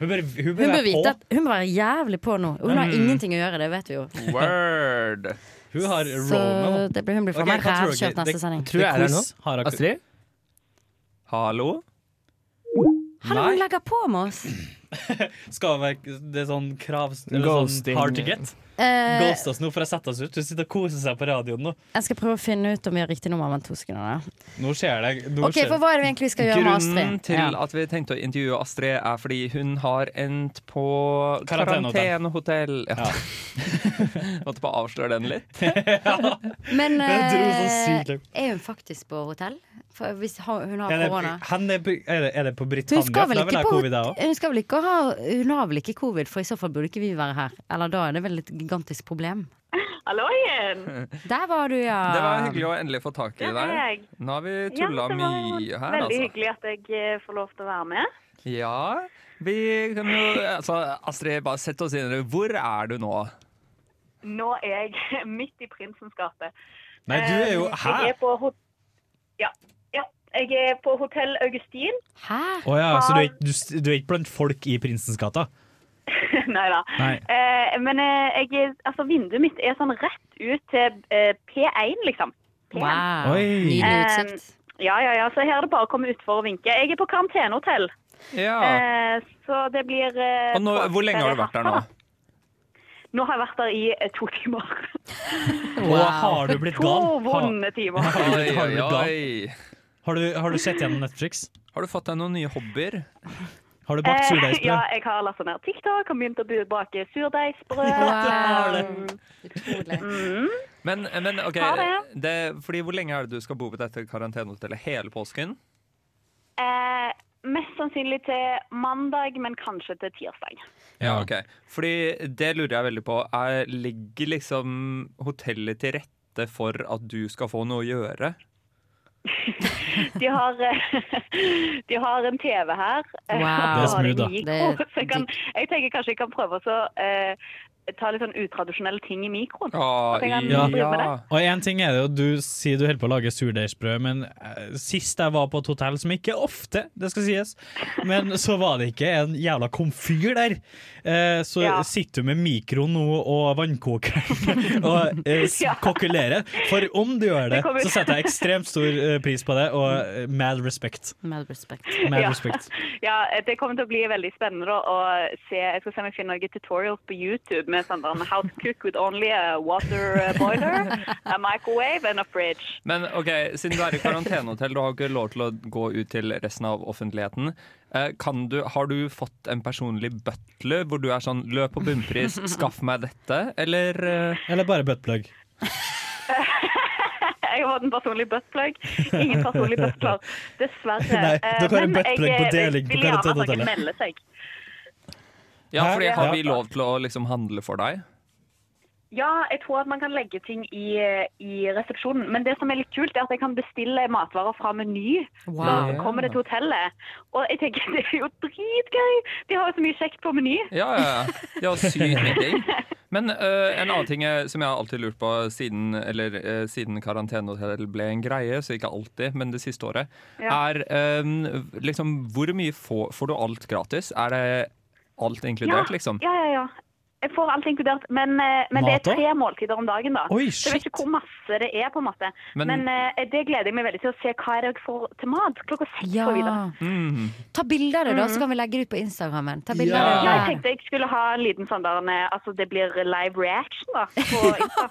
I: Hun bør, hun bør
G: Hun bør
I: være
G: vite
I: på.
G: at hun må være jævlig på nå. Hun
B: Mm.
G: har ingenting å gjøre, det vet vi jo.
H: Word!
I: Hun har
G: Så
I: Roma.
G: det blir, hun
I: Ok,
G: blir faen meg
I: hva tror dere?
G: rævkjørt neste sending.
B: Tror jeg er der nå.
I: Quiz har ak-
B: Astrid?
H: (laughs) Hallo?
G: Hallo, hun legger på med oss!
I: Skal være det er sånn kravs... eller
B: Ghosting.
I: Sånn hard to get.
G: Eh,
I: Ghost oss nå for å sette oss ut. Hun sitter og koser seg på radioen nå.
G: jeg skal prøve å finne ut om vi har riktig nummer om to sekunder. da.
I: Nå skjer det. Nå
G: OK,
I: skjer
G: for
I: det.
G: hva er det vi egentlig skal gjøre med Astrid?
H: Grunnen til
G: Ja.
H: at vi tenkte å intervjue Astrid, er fordi hun har endt på
I: Karantenehotell.
H: karantenehotell. Ja.
I: Ja.
H: (laughs) Måtte bare avsløre den litt.
I: (laughs)
G: Men
I: Jeg dro så
G: eh,
I: sykt langt.
G: er hun faktisk på hotell? For hvis ha- hun har
I: Er det,
G: korona?
I: han er, på- er, det, er det på Britannia?
G: Hun skal
I: For
G: vel
I: da vil
G: ikke
I: jeg
G: på
I: ha covid, jeg også.
G: Hun, skal vel ikke ha, hun har vel ikke covid, for i så fall burde ikke vi være her. Eller da er det vel et gigantisk problem.
L: Hallo
H: (laughs)
L: igjen!
G: Der var du, ja.
H: Det var hyggelig å endelig få tak i
L: Det var
H: deg.
L: jeg.
H: Nå har vi
L: Ja,
H: tulla
L: det var
H: mye her,
L: Veldig
H: altså.
L: hyggelig at jeg eh, får lov til å være med.
H: Ja, vi kan jo altså, Astrid, bare sett oss inn i det. Hvor er du nå?
L: Nå er jeg (laughs) midt i Prinsens gate.
I: Nei, du er jo
L: Eh, Jeg
I: Hæ?
L: er på, ho ja, ja, jeg er på Hotell Augustin. (laughs)
G: Hæ?
I: Å ja, så du er, ikke, du, s- du er ikke blant folk i Prinsens gata?
L: Neida.
I: Nei.
L: Eh, men eh, jeg, er- altså, vinduet mitt er sånn rett ut til eh, P1, liksom. P1.
G: Wow.
I: Oi.
G: Nydelig utsikt.
L: Ja, ja, ja. Så her er det bare å komme utfor og vinke. Jeg er på karantenehotell,
H: Ja.
L: eh, så det blir eh,
H: Og nå, hvor lenge har du vært der nå?
L: Nå har jeg vært der i eh, to timer.
I: Og har du blitt
L: To
I: gal? Har,
L: vonde timer.
H: Oi,
I: Har du
H: oi,
I: blitt gal?
H: oi.
I: har, du, har du sett gjennom Netflix?
H: Har du fått deg noen nye hobbyer?
I: Har du bakt
L: Eh,
I: surdeigsbrød?
L: ja, jeg har lasta ned TikTok og begynt å bu- bake
G: (laughs)
L: surdeigsbrød.
G: Wow. Utrolig.
L: Mm.
H: Men, eh, men ok,
L: Ha det.
H: det, fordi hvor lenge er det du skal bo på dette karantenehotellet? Hele påsken?
L: Eh, mest sannsynlig til mandag, men kanskje til tirsdag.
H: Ja, ok. Fordi det lurer jeg veldig på. Er, ligger liksom hotellet til rette for at du skal få noe å gjøre?
L: De har,
M: (laughs)
L: eh, de har en TV her.
G: Wow.
M: Eh,
L: Og så har de
I: Det er smooth, da.
L: mye
M: (laughs)
G: Det er
L: kos. Så jeg, kan, jeg tenker kanskje jeg kan prøve å så, eh,
M: ta litt sånn utradisjonelle ting i mikroen.
H: Ah,
M: Så tenker jeg,
I: Ja.
M: hvorfor gjorde vi det?
I: Og en ting er det jo, du sier du holder på å lage surdeigsbrød, men eh, sist jeg var på et hotell, som ikke er ofte, det skal sies, men så var det ikke en jævla komfyr der. Eh, så
M: Ja.
I: sitter du med mikroen nå og vannkokeren (laughs) og eh, s-
M: (laughs) Ja.
I: kokulerer. For om du gjør det,
M: Det kommer-
I: så setter jeg ekstremt stor eh, pris på det, og eh, mad respect.
G: Mad respect.
I: Mad
M: ja.
I: respect.
M: ja, eh, det kommer til å bli veldig spennende da, å se Jeg skal se om jeg finner noen tutorials på YouTube med sånn der, How to cook with only a water
G: (laughs)
M: boiler, a microwave and a fridge.
H: Men ok, siden du er i karantenehotell, du har ikke lov til å gå ut til resten av offentligheten. Eh, Kan du, har du fått en personlig butler hvor du er sånn 'løp på bunnpris,
M: (laughs)
H: skaff meg dette', eller eh,
I: Eller bare buttplug.
M: Jeg har fått en personlig buttplug. Ingen personlig buttplug, dessverre.
I: Nei,
M: Eh,
I: da kan en
M: men jeg,
I: buttplug på
M: eh,
I: deling på
M: vil gjerne at dere
I: karantenehotellet.
M: melder seg.
H: Ja,
M: Hæ?
H: fordi har
M: Ja.
H: vi lov til å liksom handle for deg?
M: Ja, jeg tror at man kan legge ting i, eh, i resepsjonen. Men det som er litt kult, er at jeg kan bestille matvarer fra Meny.
H: Wow.
M: Så kommer det til hotellet. Og jeg tenker (laughs) det er jo dritgøy! De har jo så mye kjekt på Meny.
H: Ja, ja. ja. Ja,
M: (laughs)
H: sykt digg. Men eh, en annen ting eh, som jeg har alltid lurt på siden, eller, eh, siden karantenehotell ble en greie, så ikke alltid, men det siste året,
N: Ja.
H: er eh, liksom hvor mye får, får du alt gratis? Er det alt inkludert,
M: ja,
H: liksom?
M: Ja, ja, ja. Jeg får alt inkludert. Men, eh, men
H: Mat
M: det er
H: også?
M: tre måltider om dagen, da.
H: Oi,
M: så jeg vet ikke hvor masse det er, på en måte.
H: Men-
M: Men, eh, det gleder jeg meg veldig til å se hva er det jeg får til mat. Klokka seks
G: Ja.
M: og videre.
H: mm.
G: Ta bilde av det, da, så kan vi legge det ut på Instagrammen. Ta bilder av
M: Mm. Ja, jeg
G: det.
M: tenkte jeg skulle ha en liten sånn der eh, Altså, det blir live reaction, da.
G: (laughs)
M: På Insta.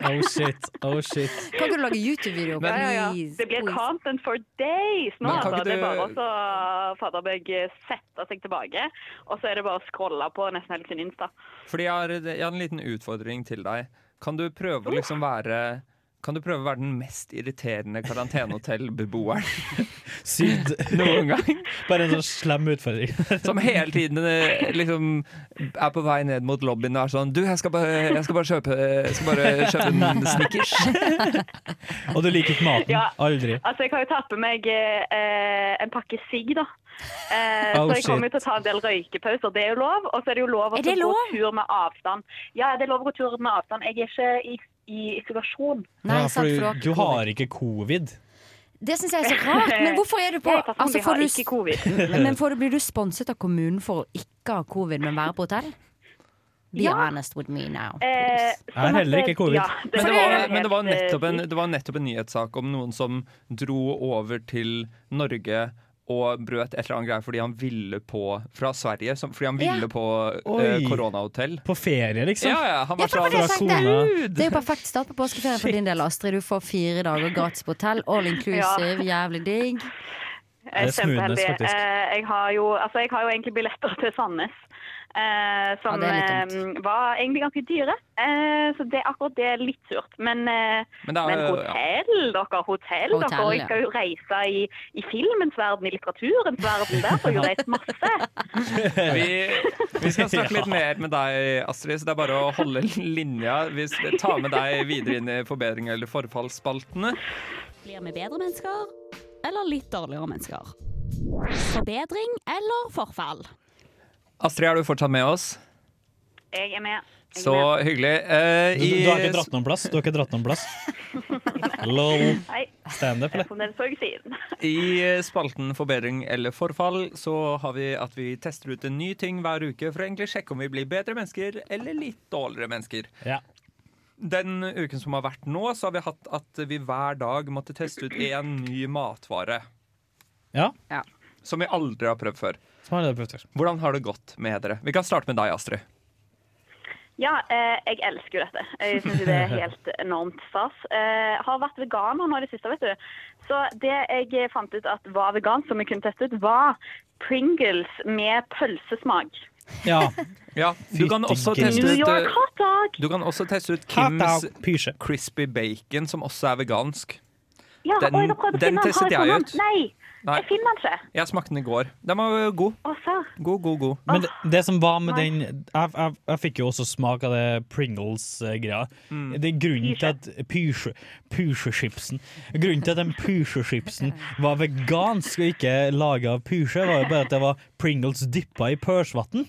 I: Oh shit, oh shit.
G: Kan ikke du lage YouTube-video?
M: Ja, ja, ja.
G: please?
M: Det blir content for days nå,
G: Men kan
M: altså.
G: ikke
M: Det er
G: du-
M: bare å faderberg sette seg tilbake, og så er det bare å scrolle på nesten hele sin Insta.
H: Fordi jeg har, jeg har en liten utfordring til deg. Kan du prøve å liksom være kan du prøve å være den mest irriterende karantenehotellbeboeren (laughs)
I: Sykt.
H: noen gang?
I: Bare en sånn slem utfordring.
H: Som hele tiden eh, liksom er på vei ned mot lobbyen og er sånn Du, jeg skal bare, jeg skal bare, kjøpe, jeg skal bare kjøpe en Snickers.
I: Og du liker ikke maten?
M: Ja.
I: Aldri.
M: Altså, jeg har jo tatt med meg eh, en pakke sigg, da. Eh,
I: Oh,
M: så jeg kommer
I: shit.
M: jo til å ta en del røykepauser, det er jo lov. Og så er det jo lov
G: Er
M: å
G: det
M: gå
G: lov?
M: tur med avstand. Ja, det er lov å gå tur med avstand. Jeg er ikke i, i isolasjon.
I: ja, for du, du har ikke covid.
G: Det syns jeg er så rart, men hvorfor er du på
M: Jeg er personlig,
G: altså, får
M: har
G: du,
M: ikke covid.
G: Men får du, blir du sponset av kommunen for å ikke ha covid, men være på hotell? Be
M: Ja.
G: honest with me now.
M: Eh,
H: Jeg har heller ikke covid.
M: Ja,
H: men,
M: det-
H: det
M: det er
H: var,
M: helt,
H: men det var,
M: eh,
H: nettopp en, det var nettopp en nyhetssak om noen som dro over til Norge og brøt et eller annet greie fordi han ville på Fra Sverige, som, fordi han ville
G: Ja.
H: på
I: Oi.
H: eh, koronahotell.
I: På ferie, liksom?
H: Ja, ja, han var
G: Ja, for det var det jeg
H: sånn-
G: tenkte.
H: Fra kona.
G: Det er jo perfekt start på påskeferien for din del, Astrid. Du får fire dager gratis på hotell, all inclusive, jævlig digg.
M: Jeg
G: Det
M: er
G: er smoothness,
M: kjempeheldig.
G: faktisk.
M: Eh, Jeg har, jo, altså jeg har jo egentlig billetter til Sandnes. eh, som
G: Ja, det er litt
M: eh, var egentlig ganske dyre. Eh, så det, akkurat det er litt surt. Men, eh,
H: Men
M: men,
H: det er jo-
M: hotell, dere.
H: Hotell,
M: Hotell, dere. Og jeg skal jo reise i, i filmens verden, i litteraturens verden. Der får jeg jo reist masse.
H: Vi, vi
I: (laughs)
H: skal snakke litt mer med deg, Astrid, så det er bare å holde linja. Vi s- tar med deg videre inn i forbedring- eller forfallsspaltene.
J: Blir vi bedre mennesker, eller litt dårligere mennesker? Forbedring eller forfall?
H: Astrid, er du fortsatt med oss?
M: Jeg er med. Jeg er
H: Så
M: med.
H: hyggelig. Eh,
I: Du, du har
H: i-
I: ikke dratt noen plass? Du har ikke dratt noen (laughs) plass? Lol.
M: Nei.
I: Standup,
M: Jeg er
I: eller?
M: fremdeles på høyresiden.
H: I spalten Forbedring eller forfall så har vi at vi tester ut en ny ting hver uke for å egentlig sjekke om vi blir bedre mennesker eller litt dårligere mennesker.
I: Ja.
H: Den uken som har vært nå, så har vi hatt at vi hver dag måtte teste ut én ny matvare.
I: Ja.
H: Som vi aldri har prøvd før.
I: Som har dere prøvd før.
H: Hvordan har det gått med dere? Vi kan starte med deg, Astrid.
M: Ja, eh, jeg elsker jo dette. Jeg syns det er
H: (laughs)
M: helt enormt stas. Eh, har vært veganer nå i det siste, vet du. Så det jeg fant ut at var vegan, som jeg kunne teste ut, var Pringles med pølsesmak.
I: Ja.
H: du, kan også
I: Fytti
H: teste ut,
I: grisen. New
M: York hot dog.
H: eh, du kan også teste ut
I: Hot
H: Kims crispy bacon, som også er vegansk.
M: Ja,
H: Den-
M: oi, da prøvde
H: den
M: jeg å finne den. Har
H: testet
M: jeg
H: jeg
M: funnet
H: ut.
M: den? Nei,
H: Nei,
M: jeg finner den ikke.
H: jeg smakte den i går. Den var eh, god.
M: Å, serr.
H: God, god, god.
I: Men det, det som var med
M: Nei.
I: den Jeg, jeg, jeg fikk jo også smak av det Pringles-greia. Det er grunnen til at pysje- pysjechipsen Grunnen til at den pysjechipsen var vegansk og ikke laga av pysje, var jo bare at det var Pringles dyppa i pørsvann.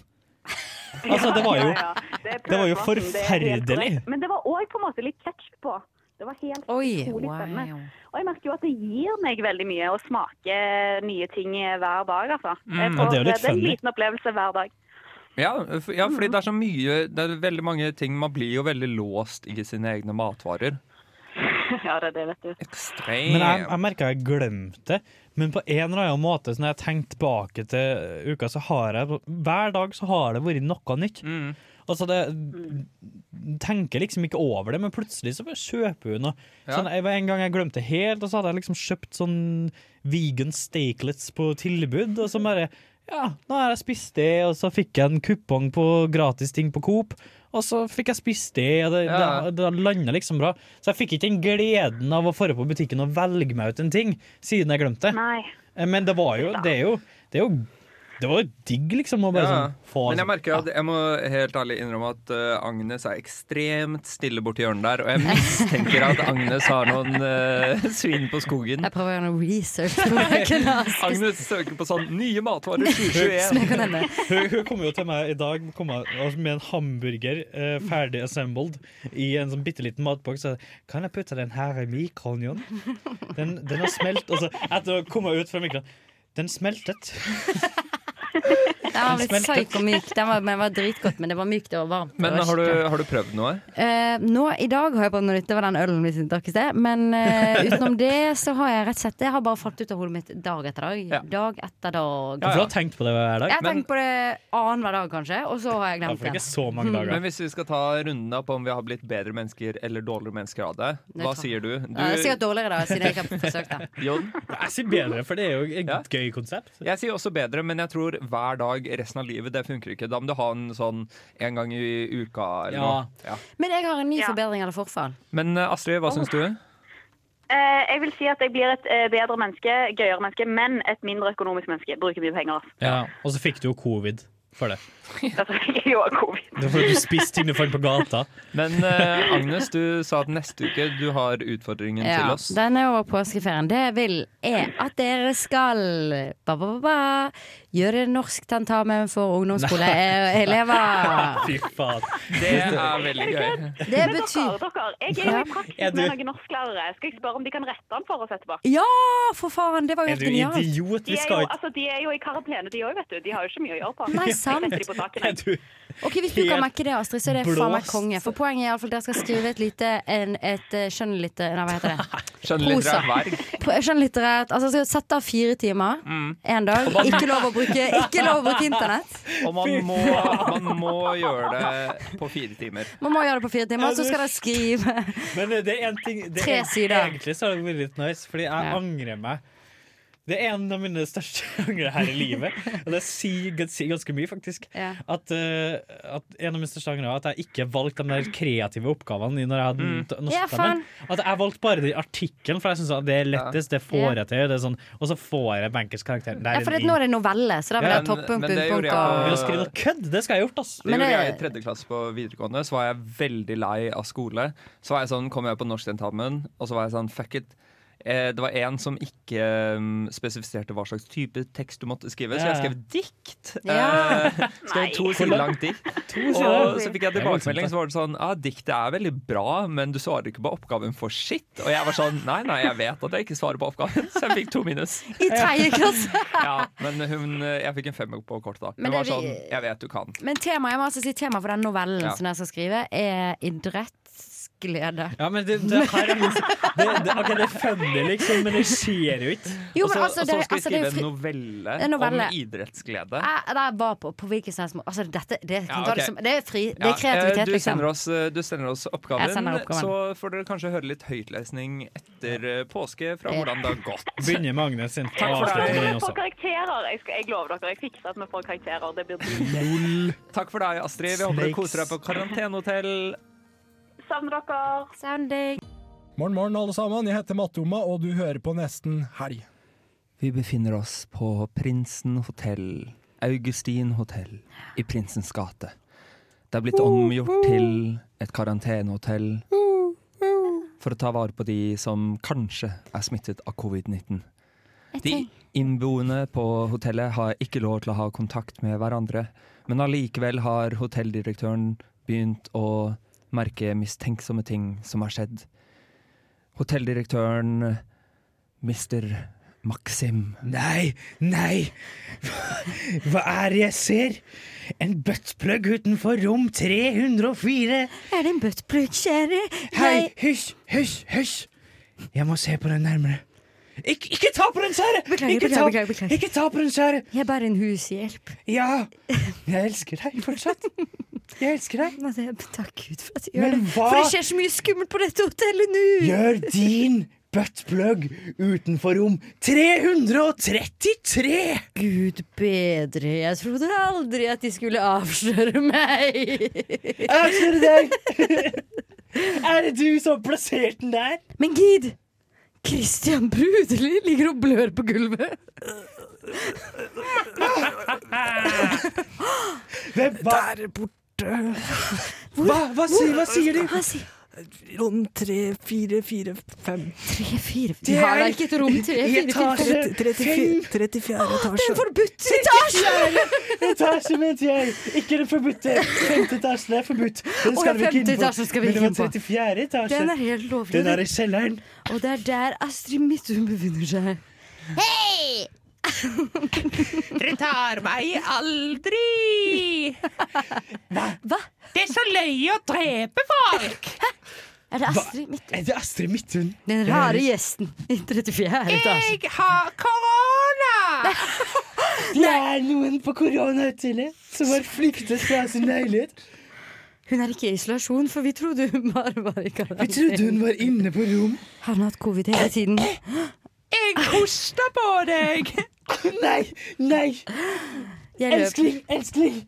I: Altså, det var jo-
L: Det er
I: det var jo
L: prøvematen, det er helt
I: forferdelig.
L: korrekt. Men det var òg på en måte litt ketsjup på. Det var helt
G: Oi,
L: utrolig
G: wow.
L: spennende. Og jeg merker jo at det gir meg veldig mye å smake nye ting hver dag, altså.
H: Mm,
L: Jeg
H: og
L: får-
H: det er jo litt
L: det er en
H: funny.
L: liten opplevelse hver dag. (laughs)
H: Ja, f- ja, fordi det er så mye Det er veldig mange ting Man blir jo veldig låst i sine egne matvarer.
L: ja, det er det, vet du.
H: Ekstremt.
I: Men jeg, jeg merka jeg glemte det. Men på en eller annen måte, så når jeg tenker tilbake til uka, så har jeg hver dag så har det vært noe nytt.
H: Mm.
I: Altså, det tenker liksom ikke over det, men plutselig så bare kjøper hun noe.
H: Ja.
I: Sånn, jeg, en gang jeg glemte helt, og så hadde jeg liksom kjøpt sånn vegan stakelets på tilbud, og så bare Ja, nå har jeg spist det, og så fikk jeg en kupong på gratis ting på Coop. Og så fikk jeg spist det, og det,
H: Ja.
I: det, det landa liksom bra. Så jeg fikk ikke den gleden av å dra på butikken og velge meg ut en ting, siden jeg glemte det.
L: Nei.
I: Eh, Men det var jo Det er jo Det, er jo, det var jo digg, liksom, å bare
H: Ja.
I: sånn få
H: Men jeg merker at jeg må helt ærlig innrømme at eh, Agnes er ekstremt stille borti hjørnet der, og jeg mistenker at Agnes har noen eh, (laughs) svin på skogen.
G: Jeg prøver å gjøre noe research. (laughs) på hva jeg kunne ha spist.
H: Agnes søker på sånn 'nye matvarer
G: Som jeg
H: 2021'.
G: kan hende.
I: hun, hun kom jo til meg i dag kom jeg- altså med en hamburger eh, ferdig assembled i en sånn bitte liten matboks. Så jeg, kan jeg putte den her i mikroen, Jon? Den, den har smelt. Og så etter å komme ut fra mikroen Den smeltet.
G: Den var litt
I: Den smeltet.
G: psyk og myk. Den var, men den var dritgodt, men det var mykt og varmt.
H: Men har du, har du prøvd noe?
G: Eh, nå, I dag har jeg prøvd noe nytt. Det var den ølen vi drakk i sted. Men
H: (laughs)
G: eh, utenom det så har jeg rett og slett Jeg har bare falt ut av hodet mitt dag etter dag. Dag etter dag.
I: Ja, for du har tenkt på det hver dag?
G: Jeg har tenkt på det annenhver dag, kanskje, og så har jeg
H: Ja,
G: glemt
H: for det er
G: det.
H: ikke så
I: mange dager.
H: Men hvis vi skal ta runden opp om vi har blitt bedre mennesker eller dårligere mennesker av det, hva
G: Nøytral.
H: sier du? du
G: Ja, det er sikkert dårligere da, siden jeg ikke har forsøkt
H: (laughs)
G: det.
H: Jon?
I: Jeg sier bedre, for det er jo et gøy konsept.
H: Jeg sier også bedre, men jeg tror hver dag resten av livet, det funker ikke. Da må du ha en sånn en gang i uka eller
I: Ja.
H: noe. Ja.
G: Men jeg har en ny forbedring eller forfall.
H: Men eh, Astrid, hva syns du?
L: Eh, jeg vil si at jeg blir et eh, bedre menneske, gøyere menneske, men et mindre økonomisk menneske. Bruker mye penger. altså.
I: Ja, og så fikk du jo covid for det.
L: Altså, jeg er jo covid.
I: Det var fordi du spiste ting du fant på gata.
H: Men eh, Agnes, du sa at neste uke du har utfordringen til
G: Ja,
H: oss.
G: den er over påskeferien. Det jeg vil, er at dere skal ba, ba, ba, ba, gjøre norsktentamen for
H: (laughs)
G: ungdomsskoleelever.
I: (laughs) Fy faen.
H: Det er veldig gøy.
G: Det
L: Men
G: betyr-
L: dere, dere, jeg er jo
G: Ja.
L: i praksis
I: Er du-
L: med noen norsklærere. Skal jeg spørre om de kan rette den for oss etterpå?
G: Ja, for faen! Det var jo
I: Er
G: helt
I: du
G: genialt.
I: idiot?
L: De
I: Vi
L: er,
I: skal
L: jo,
I: ikke (laughs)
L: altså, de er jo i karantene, de òg, vet du. De har jo ikke mye å gjøre på.
G: Nei,
L: Jeg
G: sant.
L: setter de på taket.
I: Er du
G: Ok, Hvis du kan
I: Helt
G: mekke det, Astrid, så er det faen meg
I: blåst.
G: konge. For poenget er iallfall at dere skal skrive et lite en, Et eh, skjønnlitterært Nei, hva heter
H: (laughs)
G: det?
H: Skjønnlitterær verg.
G: Po- Skjønnlitterært Altså, dere skal sette av fire timer
H: Mm.
G: en dag.
H: Og man-
G: Ikke lov å bruke, ikke lov å bruke internett.
H: Og man må, man må gjøre det på fire timer.
G: Man må gjøre det på fire timer. Så skal dere skrive
I: Men eh, det er en ting det
G: Tre
I: er,
G: sider.
I: Egentlig så har det vært litt nice, fordi jeg angrer meg. Det er en av mine største (laughs) angre her i livet, og det sier gans- sier ganske mye, faktisk.
G: Ja.
I: At, eh, at en av mine største angre er at jeg ikke valgte de der kreative oppgavene i når jeg hadde mm.
G: Ja, faen.
I: At jeg valgte bare den artikkelen, for jeg syns det er lettest, det
G: Ja.
I: får jeg til. Det er sånn, og så får jeg bankers karakter.
G: Ja, for det, nå er det novelle, så da vil
H: Ja,
G: jeg ha
H: men-
G: toppunkt,
H: men det gjorde
G: bunnpunkt
H: jeg
I: Begynner
G: og
I: å skrive noe kødd! Det skal jeg ha gjort, ass.
H: Det
G: Men
H: gjorde
G: det-
H: jeg i tredje klasse på videregående. Så var jeg veldig lei av skole. Så var jeg sånn, kom jeg på norsktentamen, og så var jeg sånn fuck it. Eh, Det var en som ikke mm, spesifiserte hva slags type tekst du måtte skrive, så jeg
I: Ja.
H: skrev dikt.
I: Ja.
H: Eh, skrev to
I: Nei.
H: sider langt dikt.
G: (laughs)
I: sider.
H: Og så fikk jeg
I: Det er voldsomt,
H: tilbakemelding,
I: da.
H: så var det sånn Ja, diktet er veldig bra, men du svarer ikke på oppgaven for shit. Og jeg var sånn Nei, nei, jeg vet at jeg ikke svarer på oppgaven, (laughs) så jeg fikk to minus.
G: I tredje
H: (laughs)
G: klasse!
H: Ja, men hun, jeg fikk en femmer på kortet da. Hun
G: Men det
H: var
G: vi-
H: sånn Jeg vet du kan.
G: Men temaet, jeg må altså si temaet for den novellen
H: Ja.
G: som jeg skal skrive, er idrettsglede.
I: Ja, men det, det her er liksom det, det, ok, det er funny, liksom, men det skjer jo ikke.
G: Jo,
H: og
G: men
H: så
G: altså,
H: og
G: det-
H: så skal vi
G: altså, det er
H: skrive
G: fri-
H: en novelle,
G: En novelle.
H: om idrettsglede.
G: Jeg, der jeg var på, på hvilken som helst måte. Altså, dette, det, kan
H: Ja,
G: ta
H: ok.
G: det, som, det er fri, det
H: Ja,
G: er
H: eh,
G: kreativitet,
H: du
G: liksom.
H: sender, oss, eh, du sender oss oppgaven,
G: Jeg sender oppgaven.
H: så får dere kanskje høre litt høytlesning etter eh, påske fra hvordan det har gått.
I: Begynner med Agnes sin.
H: Takk for
I: og avslutter
H: deg.
I: med
L: Men
I: den
L: vi
I: også.
L: får karakterer. Jeg, skal, jeg lover dere, jeg fikser at vi får karakterer. Det blir dritt.
H: Takk for deg, Astrid. Vi håper du
I: Snakes.
H: koser deg på karantenehotell.
L: Savner dere.
D: Morgen, morgen, alle sammen. Jeg heter Matoma, og du hører på Nesten Helg.
H: Vi befinner oss på Prinsen hotell, Augustin hotell, i Prinsens gate. Det er blitt omgjort til et karantenehotell for å ta vare på de som kanskje er smittet av covid-19.
E: Jeg
H: De,
E: tenk-
H: Innboende på hotellet har ikke lov til å ha kontakt med hverandre, men allikevel har hotelldirektøren begynt å merke mistenksomme ting som har skjedd. Hotelldirektøren mister Maxim.
O: Nei, nei! Hva er det jeg ser? En buttplug utenfor rom 304!
G: Er det en buttplug, kjære?
O: Hei, hysj, hysj, hysj! Jeg må se på den nærmere. Ik ikke ta på den, kjære!
G: Beklager,
O: ikke,
G: beklager, beklager, beklager.
O: ikke ta på den, kjære!
G: Jeg er bare en hushjelp.
O: Ja! Jeg elsker deg fortsatt. Jeg elsker deg.
G: Nei, det- Altså, takk Gud for at jeg gjør det. For det skjer så mye skummelt på dette hotellet nå!
O: Gjør din buttplug utenfor rom 333!
G: Gud bedre, jeg trodde aldri at de skulle avsløre meg.
O: Avsløre deg! er det du som har plassert den der?
G: Men gid! Christian Brudeli ligger og blør på gulvet.
O: Hvem var
P: Der borte.
O: Hva, hva, sier, hva sier de?
G: Hva sier
P: Rom 3, 4, 4, 5.
G: 3, 4
P: Det
G: Vi har da
P: er
G: ikke et rom til
P: i etasje 34. 34 etasje.
G: forbudt
O: etasje! etasje, mente jeg. Ikke den forbudte. Femte etasjen er forbudt. Den
G: Å, ja,
O: skal vi ikke
G: femte
O: inn på.
G: etasjen skal vi
O: Men
G: ikke
O: det var
G: inn på.
O: 34. etasje.
G: Den er helt lovlig.
O: Den er i kjelleren.
G: Og det er der Astrid Midthun befinner seg. (laughs)
Q: Hei! Dere tar meg aldri!
G: Hva?
Q: Det er så løye å drepe folk!
G: Er det
O: Hva?
G: Astrid Midthun?
O: Er det Astrid Midthun?
G: Den rare gjesten i 34. etasje.
Q: Jeg har korona!
O: Det er noen på koronahotellet som har flyktet fra sin leilighet.
G: Hun er ikke i isolasjon, for vi trodde hun bare var i karantene.
O: Vi trodde hun var inne på rom.
G: Har hun hatt covid hele tiden?
Q: Jeg hoster på deg!
O: Nei, nei.
G: Jeg løper.
O: Elskling, elskling.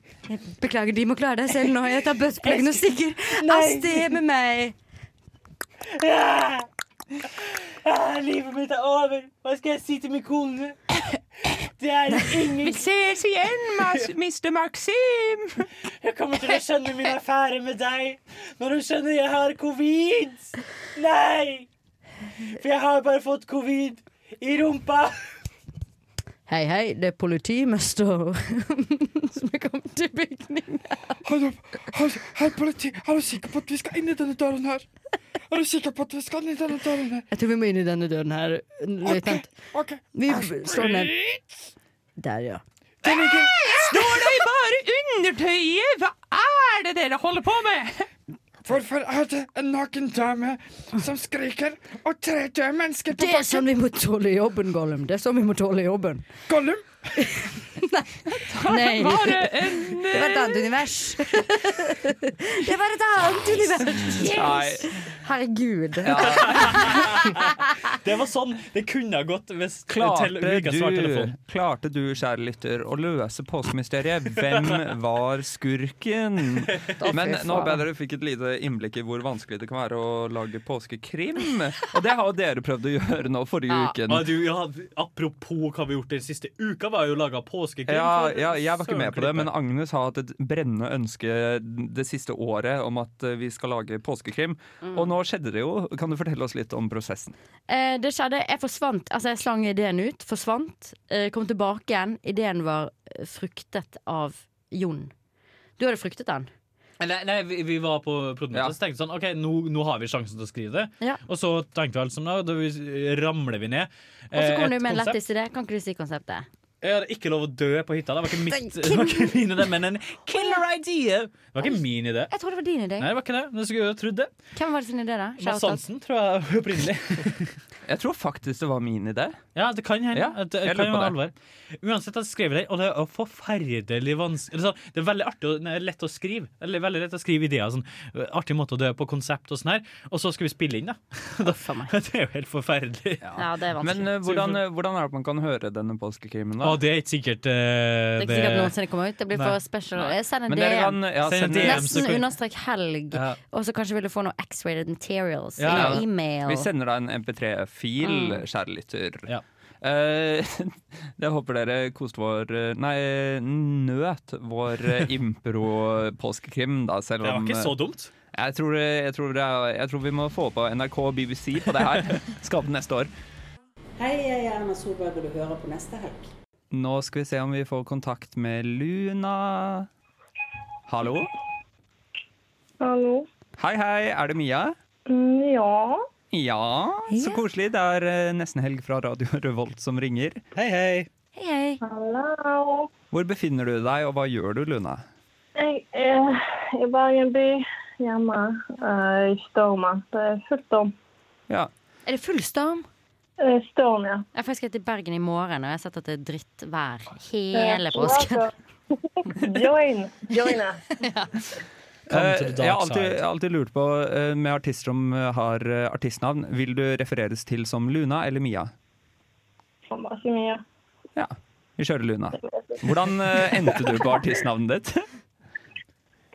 G: Beklager, de må klare deg selv nå. Jeg tar bøttepluggen og stikker
O: Nei.
G: av sted med meg.
O: Ah! Ah, livet mitt er over. Hva skal jeg si til min kone? Det er ingen
Q: Vi ses igjen, Mas
O: (laughs)
Q: Mr. Maxim.
O: Jeg kommer til å skjønne min affære med deg når hun skjønner jeg har covid. Nei! For jeg har bare fått covid i rumpa.
G: Hei, hei, det er politimester (laughs) som er kommet til bygningen.
R: Hallo, hallo, hei, politi. Er du sikker på at vi skal inn i denne døren her? Er du sikker på at vi skal inn i denne døren her?
G: Jeg tror vi må inn i denne døren her, løytnant.
R: Ok.
G: Vi slår
Q: Sånn
G: ned. Der, ja.
Q: Står det bare undertøyet? Hva er det dere holder på med?
R: Hvorfor er det en naken dame som skriker, og tre døde mennesker på
G: Det er sånn vi må tåle jobben, Gollum. Det er sånn vi må tåle jobben.
R: Gollum?
G: Nei.
Q: Var det en
G: Det var et annet univers. (laughs) Det var et annet univers.
I: Nei.
G: Herregud.
I: Det var sånn det kunne ha gått hvis tel-
H: Klarte
I: Vikas var
H: du,
I: telefon.
H: klarte du, kjære lytter, å løse påskemysteriet? Hvem var skurken?
I: (laughs) fy
H: Men nå
I: faen.
H: bedre du fikk et lite innblikk i hvor vanskelig det kan være å lage påskekrim. Og det har jo dere prøvd å gjøre nå forrige uken.
I: Ah, du, ja, apropos hva vi har gjort den siste uka, var jo laga påskekrim.
H: Ja,
I: for
H: ja, jeg var ikke med på det,
I: sørenklippet.
H: men Agnes har hatt et brennende ønske det siste året om at eh, vi skal lage påskekrim.
G: Mm.
H: Og nå skjedde det jo. Kan du fortelle oss litt om prosessen?
G: Eh, det skjedde, jeg forsvant Altså jeg slang ideen ut, forsvant eh, Kom tilbake igjen, ideen var eh, Fruktet av Jon Du hadde fruktet den
I: Nei, nei vi, vi var på produksjonen, så tenkte vi sånn OK, nå, nå har vi sjansen til å skrive det.
G: Ja.
I: Og så tenkte vi alt som da, da vi, ramler vi ned.
G: Og så
I: eh,
G: kom
I: et
G: du med en
I: konsept.
G: lettest idé Kan ikke du si konseptet?
I: Jeg hadde ikke lov å dø på hytta. Det var ikke, mitt,
G: Den
I: (laughs) det var ikke min idé, men en killer idea. Det var ikke min idé.
G: Jeg tror det var din idé
I: Nei, det var ikke det. Men jeg skulle jo trodd det.
G: Hvem var det sin idé da?
I: Mads
G: Shoutout.
I: Hansen, tror jeg (laughs) opprinnelig.
H: Jeg tror faktisk det var min idé.
I: Ja, det kan hende.
H: Ja,
I: At det,
H: jeg
I: kan
H: lurer på
I: være
H: det.
I: alvor. Uansett, jeg skrev det, og det er jo forferdelig vanskelig det, er sånn- det er veldig artig og nei, lett å skrive. Eller, veldig lett å skrive ideer. Sånn, øh, artig måte å dø på konsept og sånn her. Og så skal vi spille inn, da. (laughs) da det er jo helt forferdelig.
G: Ja, det er vanskelig
H: Men eh, hvordan, eh, hvordan er det at man kan høre denne påskekrimen? da?
I: Å, det er ikke sikkert eh,
G: Det er ikke sikkert noensinne kommer ut Det blir
I: Nei.
G: for special
I: Nei.
G: Jeg sender
I: Men
G: en
I: dere
G: DM
I: kan- ja, Send en send en DM, så
G: Nesten
I: kan-
G: understrek helg
H: Ja.
G: Og så kanskje vil du få noen X-rated materials
H: Ja, ja.
G: Eller e-mail
H: Vi sender deg en MP3-fil,
G: Mm.
H: kjære lytter. Eh, (laughs) jeg håper dere koste vår eh, Nei, nøt vår eh,
I: (laughs)
H: impro-påskekrim, da, selv
I: Det var
H: om eh,
I: ikke så dumt.
H: Jeg tror,
I: (laughs)
H: jeg, tror det er, jeg tror vi må få på NRK og BBC på det her. Skape neste år.
B: Hei, jeg er Erna Solberg, og du hører på neste helg.
H: Nå skal vi se om vi får kontakt med Luna. Hallo?
M: Hallo.
H: Hei, hei. Er det Mia?
M: Mm, ja.
H: Ja, så koselig. Det er eh, nesten helg fra Radio Revolt som ringer. Hei, hei.
G: Hei, hei.
M: Hallo.
H: Hvor befinner du deg, og hva gjør du, Luna?
M: Jeg er i Bergen by, hjemme eh, i stormen. Det er full storm.
H: Ja.
G: Er det full storm?
M: Eh, Storm, ja.
G: Jeg faktisk skal til Bergen i morgen, og jeg har sett at det er drittvær hele påsken.
M: altså. (laughs) Join! Join us.
I: Come to the
H: Eh,
I: dark
H: Jeg har alltid,
I: side.
H: jeg har alltid lurt på, eh, med artister som eh, har eh, artistnavn, vil du refereres til som Luna eller Mia?
M: Faen, bare ikke mye.
H: Vi kjører Luna. Hvordan eh, endte du på artistnavnet ditt? (laughs)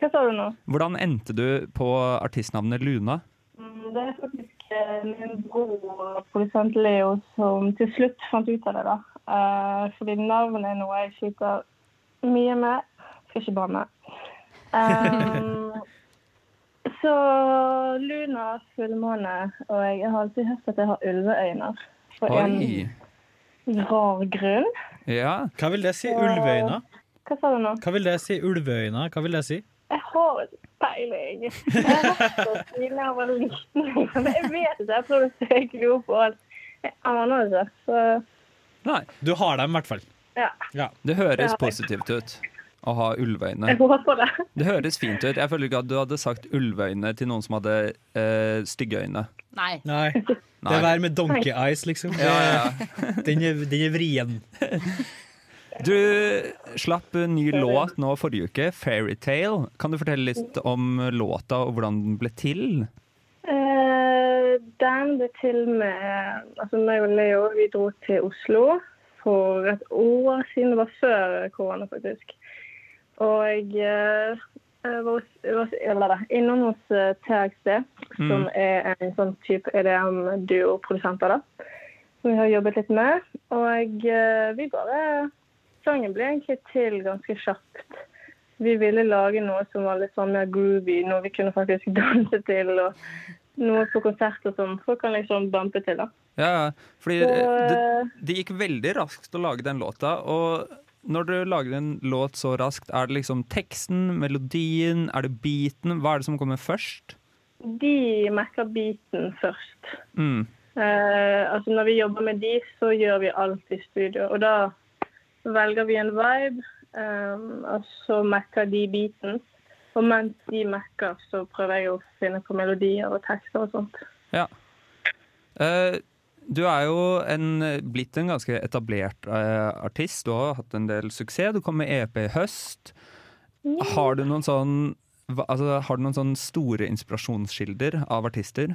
M: Hva sa du nå?
H: Hvordan endte du på artistnavnet Luna?
M: Mm, Det er faktisk eh, min bror og produsent Leo som til slutt fant ut av det. da. Eh, fordi navnet er noe jeg sliter mye med. Skal ikke banne. Ehm, så Luna fullmåne, og jeg har alltid hørt at jeg har ulveøyne. For
I: Oi.
M: en rar grunn.
I: Hva vil det si? Ulveøyne?
M: Hva sa du nå?
I: Hva vil det si? Ulveøyne? Hva vil det si?
M: Jeg har ikke peiling. Jeg har hatt det siden jeg var liten. (laughs) Men jeg vet ikke. Jeg tror det er jeg glor på alt. Jeg aner ikke. Så
H: Nei.
I: Du har dem, i hvert fall.
M: ja.
H: Det høres
M: Ja.
H: positivt ut å ha ulveøyne.
M: Jeg håper det.
H: Det høres fint ut. Jeg føler ikke at du hadde sagt ulveøyne til noen som hadde eh, stygge øyne.
G: Nei.
I: Nei. (laughs) Det er vær med donkey eyes, liksom.
H: Ja, ja,
I: (laughs) Den, er, den er vrien.
H: Du slapp en ny låt nå forrige uke, 'Fairytale'. Kan du fortelle litt om låta og hvordan den ble til?
M: Eh, den ble til med Altså, meg og Leo vi dro til Oslo for et år siden. Det var før korona, faktisk. Og eh, jeg var, hos- jeg var eller, da, innom hos eh, TXD,
L: Mm.
M: som er en sånn type EDM-duo-produsenter, da. Som vi har jobbet litt med. Og eh, vi bare Sangen ble egentlig til ganske kjapt. Vi ville lage noe som var litt sånn mer groovy, noe vi kunne faktisk (laughs) danse til. og noe på konserter som folk kan liksom bumpe til. da.
H: Ja, ja. fordi
M: Så,
H: eh,
M: eh,
H: det, det gikk veldig raskt å lage den låta. Og når du lager en låt så raskt, er det liksom teksten, melodien, er det beaten? Hva er det som kommer først?
M: De mekker beaten først.
H: Mm.
M: Eh, altså Når vi jobber med de, så gjør vi alt i studio. Og da velger vi en vibe, eh, og så mekker de beaten. Og mens de mekker, så prøver jeg å finne på melodier og tekster og sånt.
H: Ja. Eh, du er jo en, blitt en ganske etablert eh, artist. Du har hatt en del suksess. Du kom med EP i høst. Har du noen sånn hva- altså, har du noen sånn store inspirasjonskilder av artister?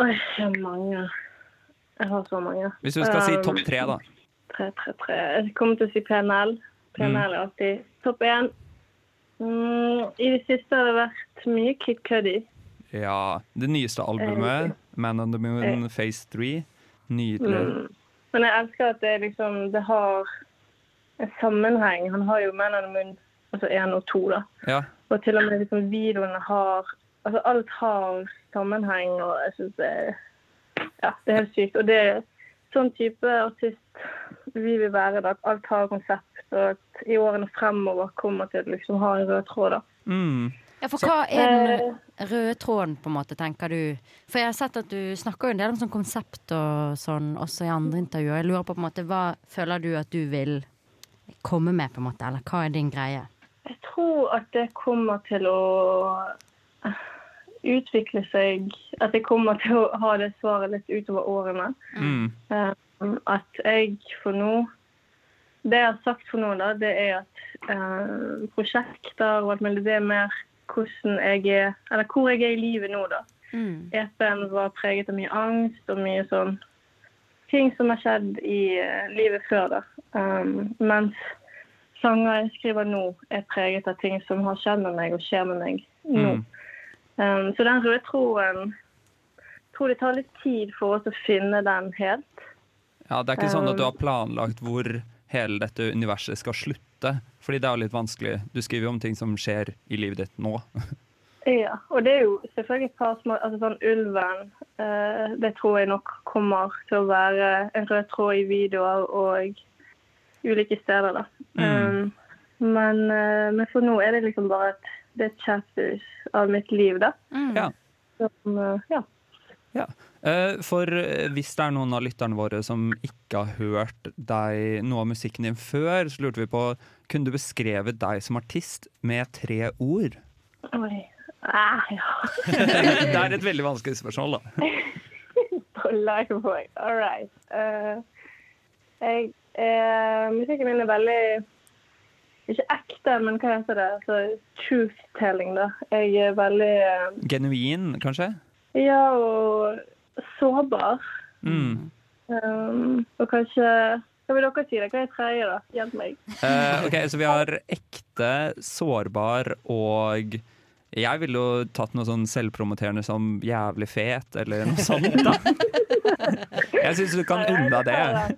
M: Oi, jeg har mange. Jeg har så mange.
H: Hvis du skal si
M: Eh,
H: topp tre, da.
M: Tre, tre, tre. Jeg kommer til å si PNL. PNL er alltid topp én. Mm, I det siste har det vært mye Kid Cudi.
H: Eh, Ja. Det nyeste albumet, 'Man on the Moon Phase 3'. Nydelig.
M: Mm. Men jeg elsker at det liksom Det har en sammenheng. Han har jo Man on the Moon altså én og to, da.
H: Ja.
M: Og til og med liksom videoene har Altså alt har sammenheng, og jeg syns det er Ja, det er helt sykt. Og det er sånn type artist vi vil være, da. At alt har konsept, og at i årene fremover kommer til å liksom ha en rød tråd, da.
H: Mm.
G: Ja, for hva er den røde tråden, på en måte, tenker du? For jeg har sett at du snakker jo en del om sånn konsept og sånn, også i andre intervjuer. Jeg lurer på på en måte, hva føler du at du vil komme med, på en måte? Eller hva er din greie?
M: Jeg tror at det kommer til å utvikle seg At jeg kommer til å ha det svaret litt utover årene.
H: Mm.
M: Um, At jeg for nå Det jeg har sagt for nå, da, det er at eh, prosjekter og alt mulig, det er mer hvordan jeg er Eller hvor jeg er i livet nå, da. EP-en var preget av mye angst og mye sånn ting som har skjedd i eh, livet før, da. Um, mens sanger jeg skriver nå, er preget av ting som har skjedd med meg og skjer med meg nå.
H: Mm.
M: Um, så den røde troen tror det tar litt tid for oss å finne den helt.
H: Ja, det er ikke sånn at du har planlagt hvor hele dette universet skal slutte. Fordi det er jo litt vanskelig. Du skriver jo om ting som skjer i livet ditt nå.
M: Ja, og det er jo selvfølgelig et par små altså sånn Ulven eh, det tror jeg nok kommer til å være en rød tråd i videoer og ulike steder, da. Um, men, eh, men for nå er det liksom bare at det er et chapters av mitt liv, da.
H: Ja.
M: Som, eh, ja.
H: Eh, For eh, hvis det er noen av lytterne våre som ikke har hørt deg noe av musikken din før, så lurte vi på Kunne du beskrevet deg som artist med tre ord?
M: Oi. Ah, ja.
H: det er et veldig vanskelig spørsmål, da.
M: (laughs) på Lifeboy. All right. Eh, jeg, eh, musikken min er veldig Ikke ekte, men hva heter det? Altså, Truth-telling, da. Jeg er veldig eh,
H: Genuin, kanskje?
M: Ja, og sårbar.
H: Mm.
M: Um, og kanskje Hva vil dere si? det? Hva er tredje, da? Hjelp meg.
H: Eh, ok, så vi har ekte, sårbar og jeg ville jo tatt noe sånn selvpromoterende som jævlig fet, eller noe sånt. (laughs) da. Jeg syns du kan unne deg det.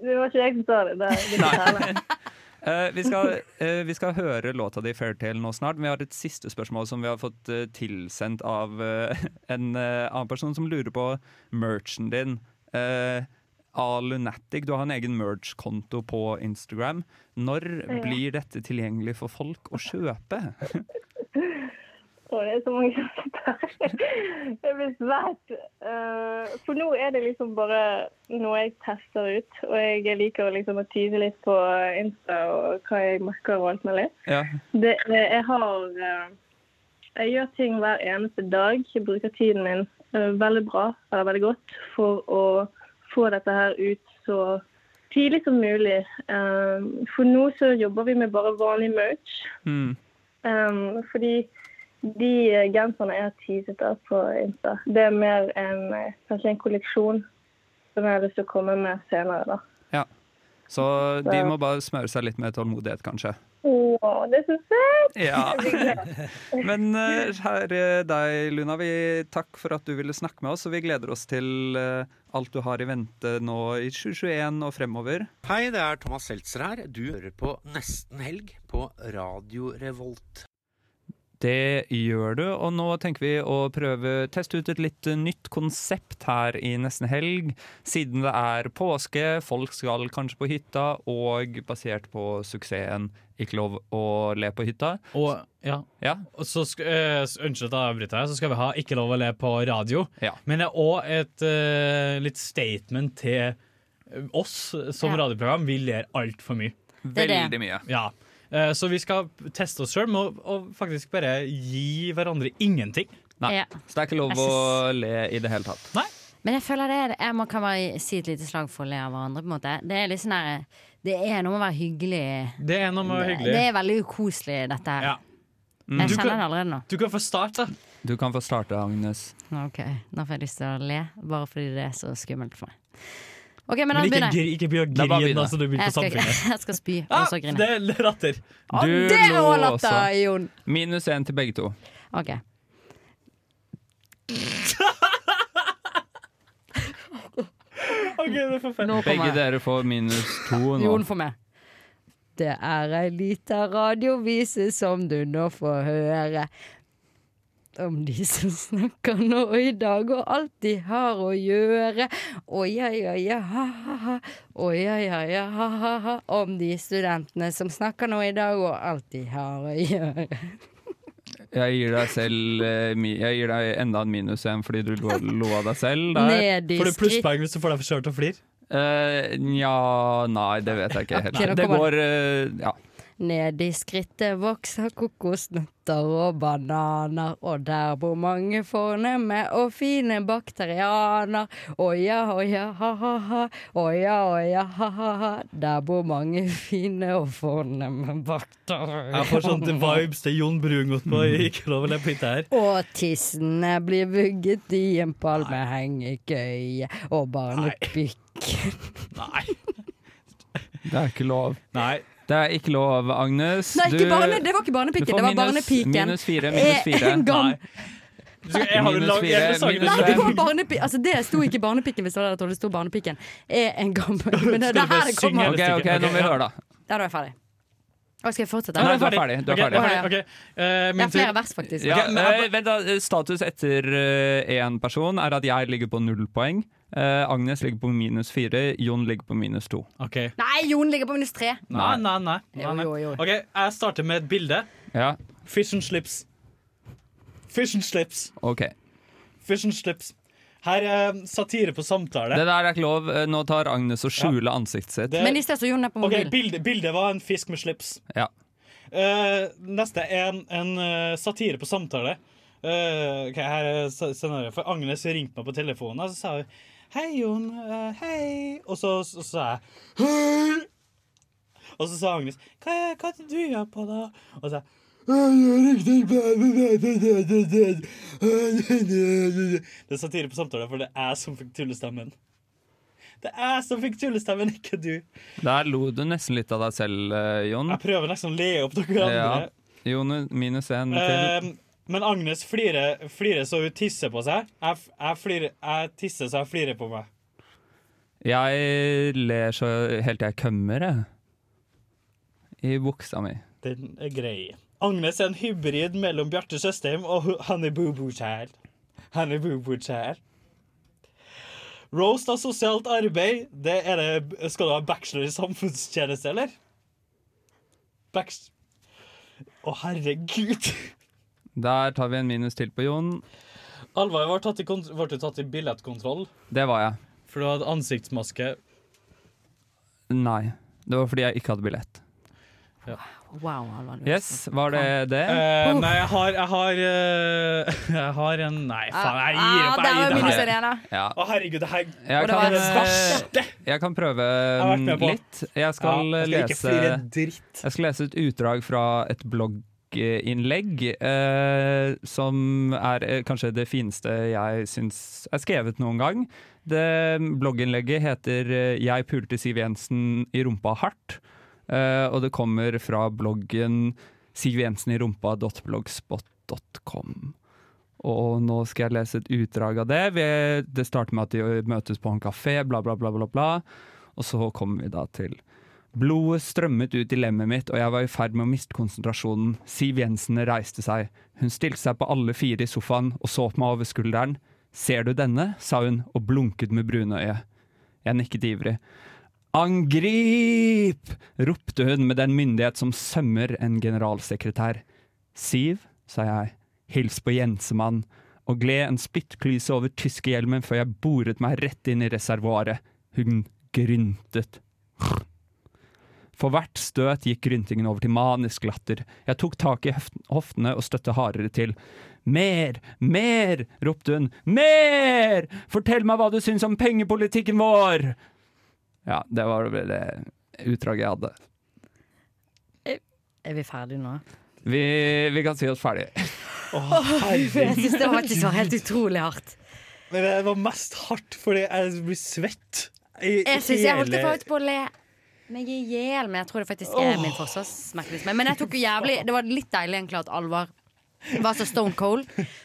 M: Det var ikke jeg som sa det. det
H: (laughs) Nei.
M: er Vitale.
H: Eh, vi, skal, eh, vi skal høre låta di 'Fairtale' nå snart, men vi har et siste spørsmål som vi har fått eh, tilsendt av eh, en eh, annen person som lurer på merchen din. Eh, A. Lunatic, du har en egen merch-konto på Instagram. Når
M: Ja.
H: blir dette tilgjengelig for folk å kjøpe?
M: Å, det er så mange gutter. Det blir svært. Eh, for nå er det liksom bare noe jeg tester ut. Og jeg liker å liksom å tyde litt på Insta og hva jeg merker og alt mulig.
H: Ja.
M: Det, eh, jeg har eh, Jeg gjør ting hver eneste dag. Jeg bruker tiden min eh, veldig bra, eller veldig godt, for å få dette her ut så tidlig som mulig. Eh, for nå så jobber vi med bare vanlig merch.
H: Mm.
M: Um, fordi de eh, genserne jeg har teaset av på Insta, det er mer en, eh, kanskje en kolleksjon som jeg har lyst til å komme med senere. da.
H: ja. Så de må bare smøre seg litt med tålmodighet, kanskje.
M: Å, det er så søtt!
G: (laughs)
H: Ja.
M: Jeg blir glad.
H: Men eh, kjære deg, Luna. Vi takk for at du ville snakke med oss, og vi gleder oss til eh, alt du har i vente nå i 2021 og fremover.
S: Hei, det er Thomas Seltzer her. Du hører på Nesten Helg på Radio Revolt.
H: Det gjør du, og nå tenker vi å prøve teste ut et litt nytt konsept her i nesten helg. Siden det er påske, folk skal kanskje på hytta, og basert på suksessen Ikke lov å le på hytta.
I: Og, ja. Og så sk eh, s- unnskyld at jeg avbryter deg, så skal vi ha Ikke lov å le på radio. Men det er òg et eh, litt statement til eh, oss som
H: Ja.
I: radioprogram. Vi ler altfor mye.
H: Det er det. Veldig mye.
I: Ja. Eh, Så vi skal teste oss sjøl med å å faktisk bare gi hverandre ingenting.
H: Nei.
G: Ja.
H: Så det er ikke lov
G: Jeg
H: å
G: syns-
H: le i det hele tatt.
G: Men jeg føler det er jeg må, kan bare si et lite slag for å le av hverandre, på en måte. Det er litt sånn her Det er noe med å være hyggelig.
I: Det er noe med å være hyggelig.
G: Det er veldig ukoselig, dette her.
H: Mm.
G: Jeg
H: Du kan-
G: kjenner det allerede nå.
I: Du kan få starte.
H: Du kan få starte, Agnes.
G: Ok, Nå får jeg lyst til å le, bare fordi det er så skummelt for meg. Ok, men,
I: Men
G: da
I: ikke
G: begynner jeg.
I: gri- ikke begynn å
H: Da bare
I: grine,
H: begynner.
I: altså, du begynner på
G: Jeg skal,
I: samfunnet.
G: (laughs) jeg skal spy, og så grine.
I: Det er latter.
G: Å, det er
H: lå
G: også latter,
H: også.
G: Jon.
H: Minus én til begge to.
G: Ok.
I: (laughs) Ok, det er forferdelig.
H: Begge dere får minus to nå.
G: Jon får med. Det er ei lita radiovise som du nå får høre. Om de som snakker nå i dag og alltid har å gjøre. Oi, oi, oi, ha-ha-ha. Oi, oi, oi, ha-ha-ha. Om de studentene som snakker nå i dag og alltid har å gjøre.
H: Jeg gir deg selv eh, mi- Jeg gir deg enda en minus én fordi du lo lo av deg selv der.
G: Ned i Får du skritt. plusspoeng
I: hvis du får deg for sjøl til å flire?
H: Eh, Nja Nei, det vet jeg ikke helt.
G: Ok, nå
H: det
G: kommer
H: går eh, Ja.
G: Ned i skrittet vokser kokosnøtter og bananer, og der bor mange fornemme og fine bakterianer. Oja, oja, ha-ha-ha, oja, oja, ha-ha-ha, der bor mange fine og fornemme bakterianer.
I: Jeg får
G: (laughs)
I: sånne vibes til Jon Brungot på Ikke lov å le på hytta her.
G: Og tissene blir vugget i en palmehengekøye, og barnepikken
H: Det er ikke lov.
I: Nei.
H: Det er ikke lov, Agnes.
G: Nei, ikke
H: Du-
G: barne, det var ikke barnepikken,
H: du får
G: det var
H: minus-
G: barnepiken.
H: Minus fire, minus
G: Eh,
H: fire.
G: en gang.
I: Jeg har jo
H: Minus
I: lag-
H: fire,
I: hele sangen
H: minus
I: er
G: Nei, det,
I: fem.
G: var barnepi altså, det sto ikke barnepikken hvis det var der det sto
I: (laughs)
G: barnepikken. Er en gammel Men det, det er her det kommer.
H: Ok, ok, nå må vi høre, da.
G: Ja, da er jeg ferdig. Å, Skal jeg fortsette?
H: Nei, du er ferdig. Du er ferdig.
I: Eh,
G: det er flere vers, faktisk.
H: Ja, eh, vent da, eh, status etter én person er at jeg ligger på null poeng. Eh, Agnes ligger på minus fire, Jon ligger på minus to.
G: Nei, Jon ligger på minus tre.
I: Nei, nei, nei. nei, nei. OK, jeg starter med et bilde.
H: Ja.
I: Fish and slips. Fish and slips.
H: Ok.
I: Fish and slips. Her er satire på samtale.
H: Det der er ikke lov. Eh, Nå tar Agnes og skjuler ansiktet sitt.
I: Det-
G: Men i stedet så Jon er på
I: Ok,
G: mobil.
I: bildet, bildet var en fisk med slips.
H: Ja.
I: Eh, neste er en, en eh, satire på samtale. Eh, ok, her er s- scenarioet. For Agnes ringte meg på telefonen, og så sa hun Hei, Jon. eh, hei. Og så, så, sa jeg Hei! Og så sa Agnes Hva, hva er det du gjør på, da? Og så sa jeg Det er satire på samtale, for det er jeg som fikk tullestemmen. Det er jeg som fikk tullestemmen, ikke du.
H: Der lo du nesten litt av deg selv, eh, Jon.
I: Jeg prøver nesten å le opp dere andre.
H: Jon, minus én til.
I: Eh, men Agnes flirer, flirer så hun tisser på seg. Jeg, f- jeg, flirer, jeg tisser så jeg flirer på meg.
H: Jeg ler så helt til jeg kømmer, jeg. I buksa mi.
I: Den er grei. Agnes er en hybrid mellom Bjarte Tjøstheim og hu- Hanne Boo-Boo-Kjær. Hanne Boo-Boo-Kjær. Roast av sosialt arbeid, det er det Skal du ha bachelor i samfunnstjeneste, eller? Bachelor Å, herregud!
H: Der tar vi en minus til på Jon.
I: Alvar var tatt i, kont- ble du tatt i billettkontroll,
H: Det var jeg.
I: for du hadde ansiktsmaske.
H: Nei. Det var fordi jeg ikke hadde billett.
G: Wow, Alvar.
H: Yes, var det det?
I: Eh, nei, jeg har Jeg har, eh, (laughs) jeg har en Nei, faen, jeg gir opp.
G: Ah,
I: Jeg
G: der var
I: gir
G: minus
I: det
G: en igjen, da.
H: Ja.
I: Å, herregud, det her
H: Jeg
I: det
H: kan,
I: var det verste.
H: eh, jeg kan prøve
I: har vært med på.
H: litt. Jeg skal,
I: Ja, jeg skal ikke flire
H: lese, jeg skal lese et utdrag fra et blogginnlegg eh, som er eh, kanskje det fineste jeg syns er skrevet noen gang. Det blogginnlegget heter eh, 'Jeg pulte Siv Jensen i rumpa hardt', eh, og det kommer fra bloggen sivjensenirumpa.blogspot.com. Og nå skal jeg lese et utdrag av det. Vi, det starter med at de møtes på en kafé, bla, bla, bla, bla, bla. Og så kommer vi da til Blodet strømmet ut i lemmet mitt, og jeg var i ferd med å miste konsentrasjonen. Siv Jensen reiste seg. Hun stilte seg på alle fire i sofaen og så på meg over skulderen. Ser du denne? sa hun og blunket med brunøyet. Jeg nikket ivrig. Angrip! ropte hun med den myndighet som sømmer en generalsekretær. Siv, sa jeg, hils på Jensemann, og gled en splittklise over tyskehjelmen før jeg boret meg rett inn i reservoaret. Hun gryntet. For hvert støt gikk gryntingen over til manisk latter. Jeg tok tak i høften- hoftene og støtte hardere til. Mer, mer, ropte hun. Mer! Fortell meg hva du syns om pengepolitikken vår! Ja, det var vel det utdraget jeg hadde.
G: Er vi ferdige nå?
H: Vi, vi kan si oss ferdig.
G: jeg syns det var faktisk var helt utrolig hardt.
I: Men det var mest hardt fordi jeg blir svett. i
G: Jeg synes jeg holdt det
I: hele-
G: faktisk på å le meg i hjel, men jeg tror det faktisk er min forsvarsmekanisme. Men jeg tok jo jævlig Det var litt deilig egentlig at Alvar var så stone cold.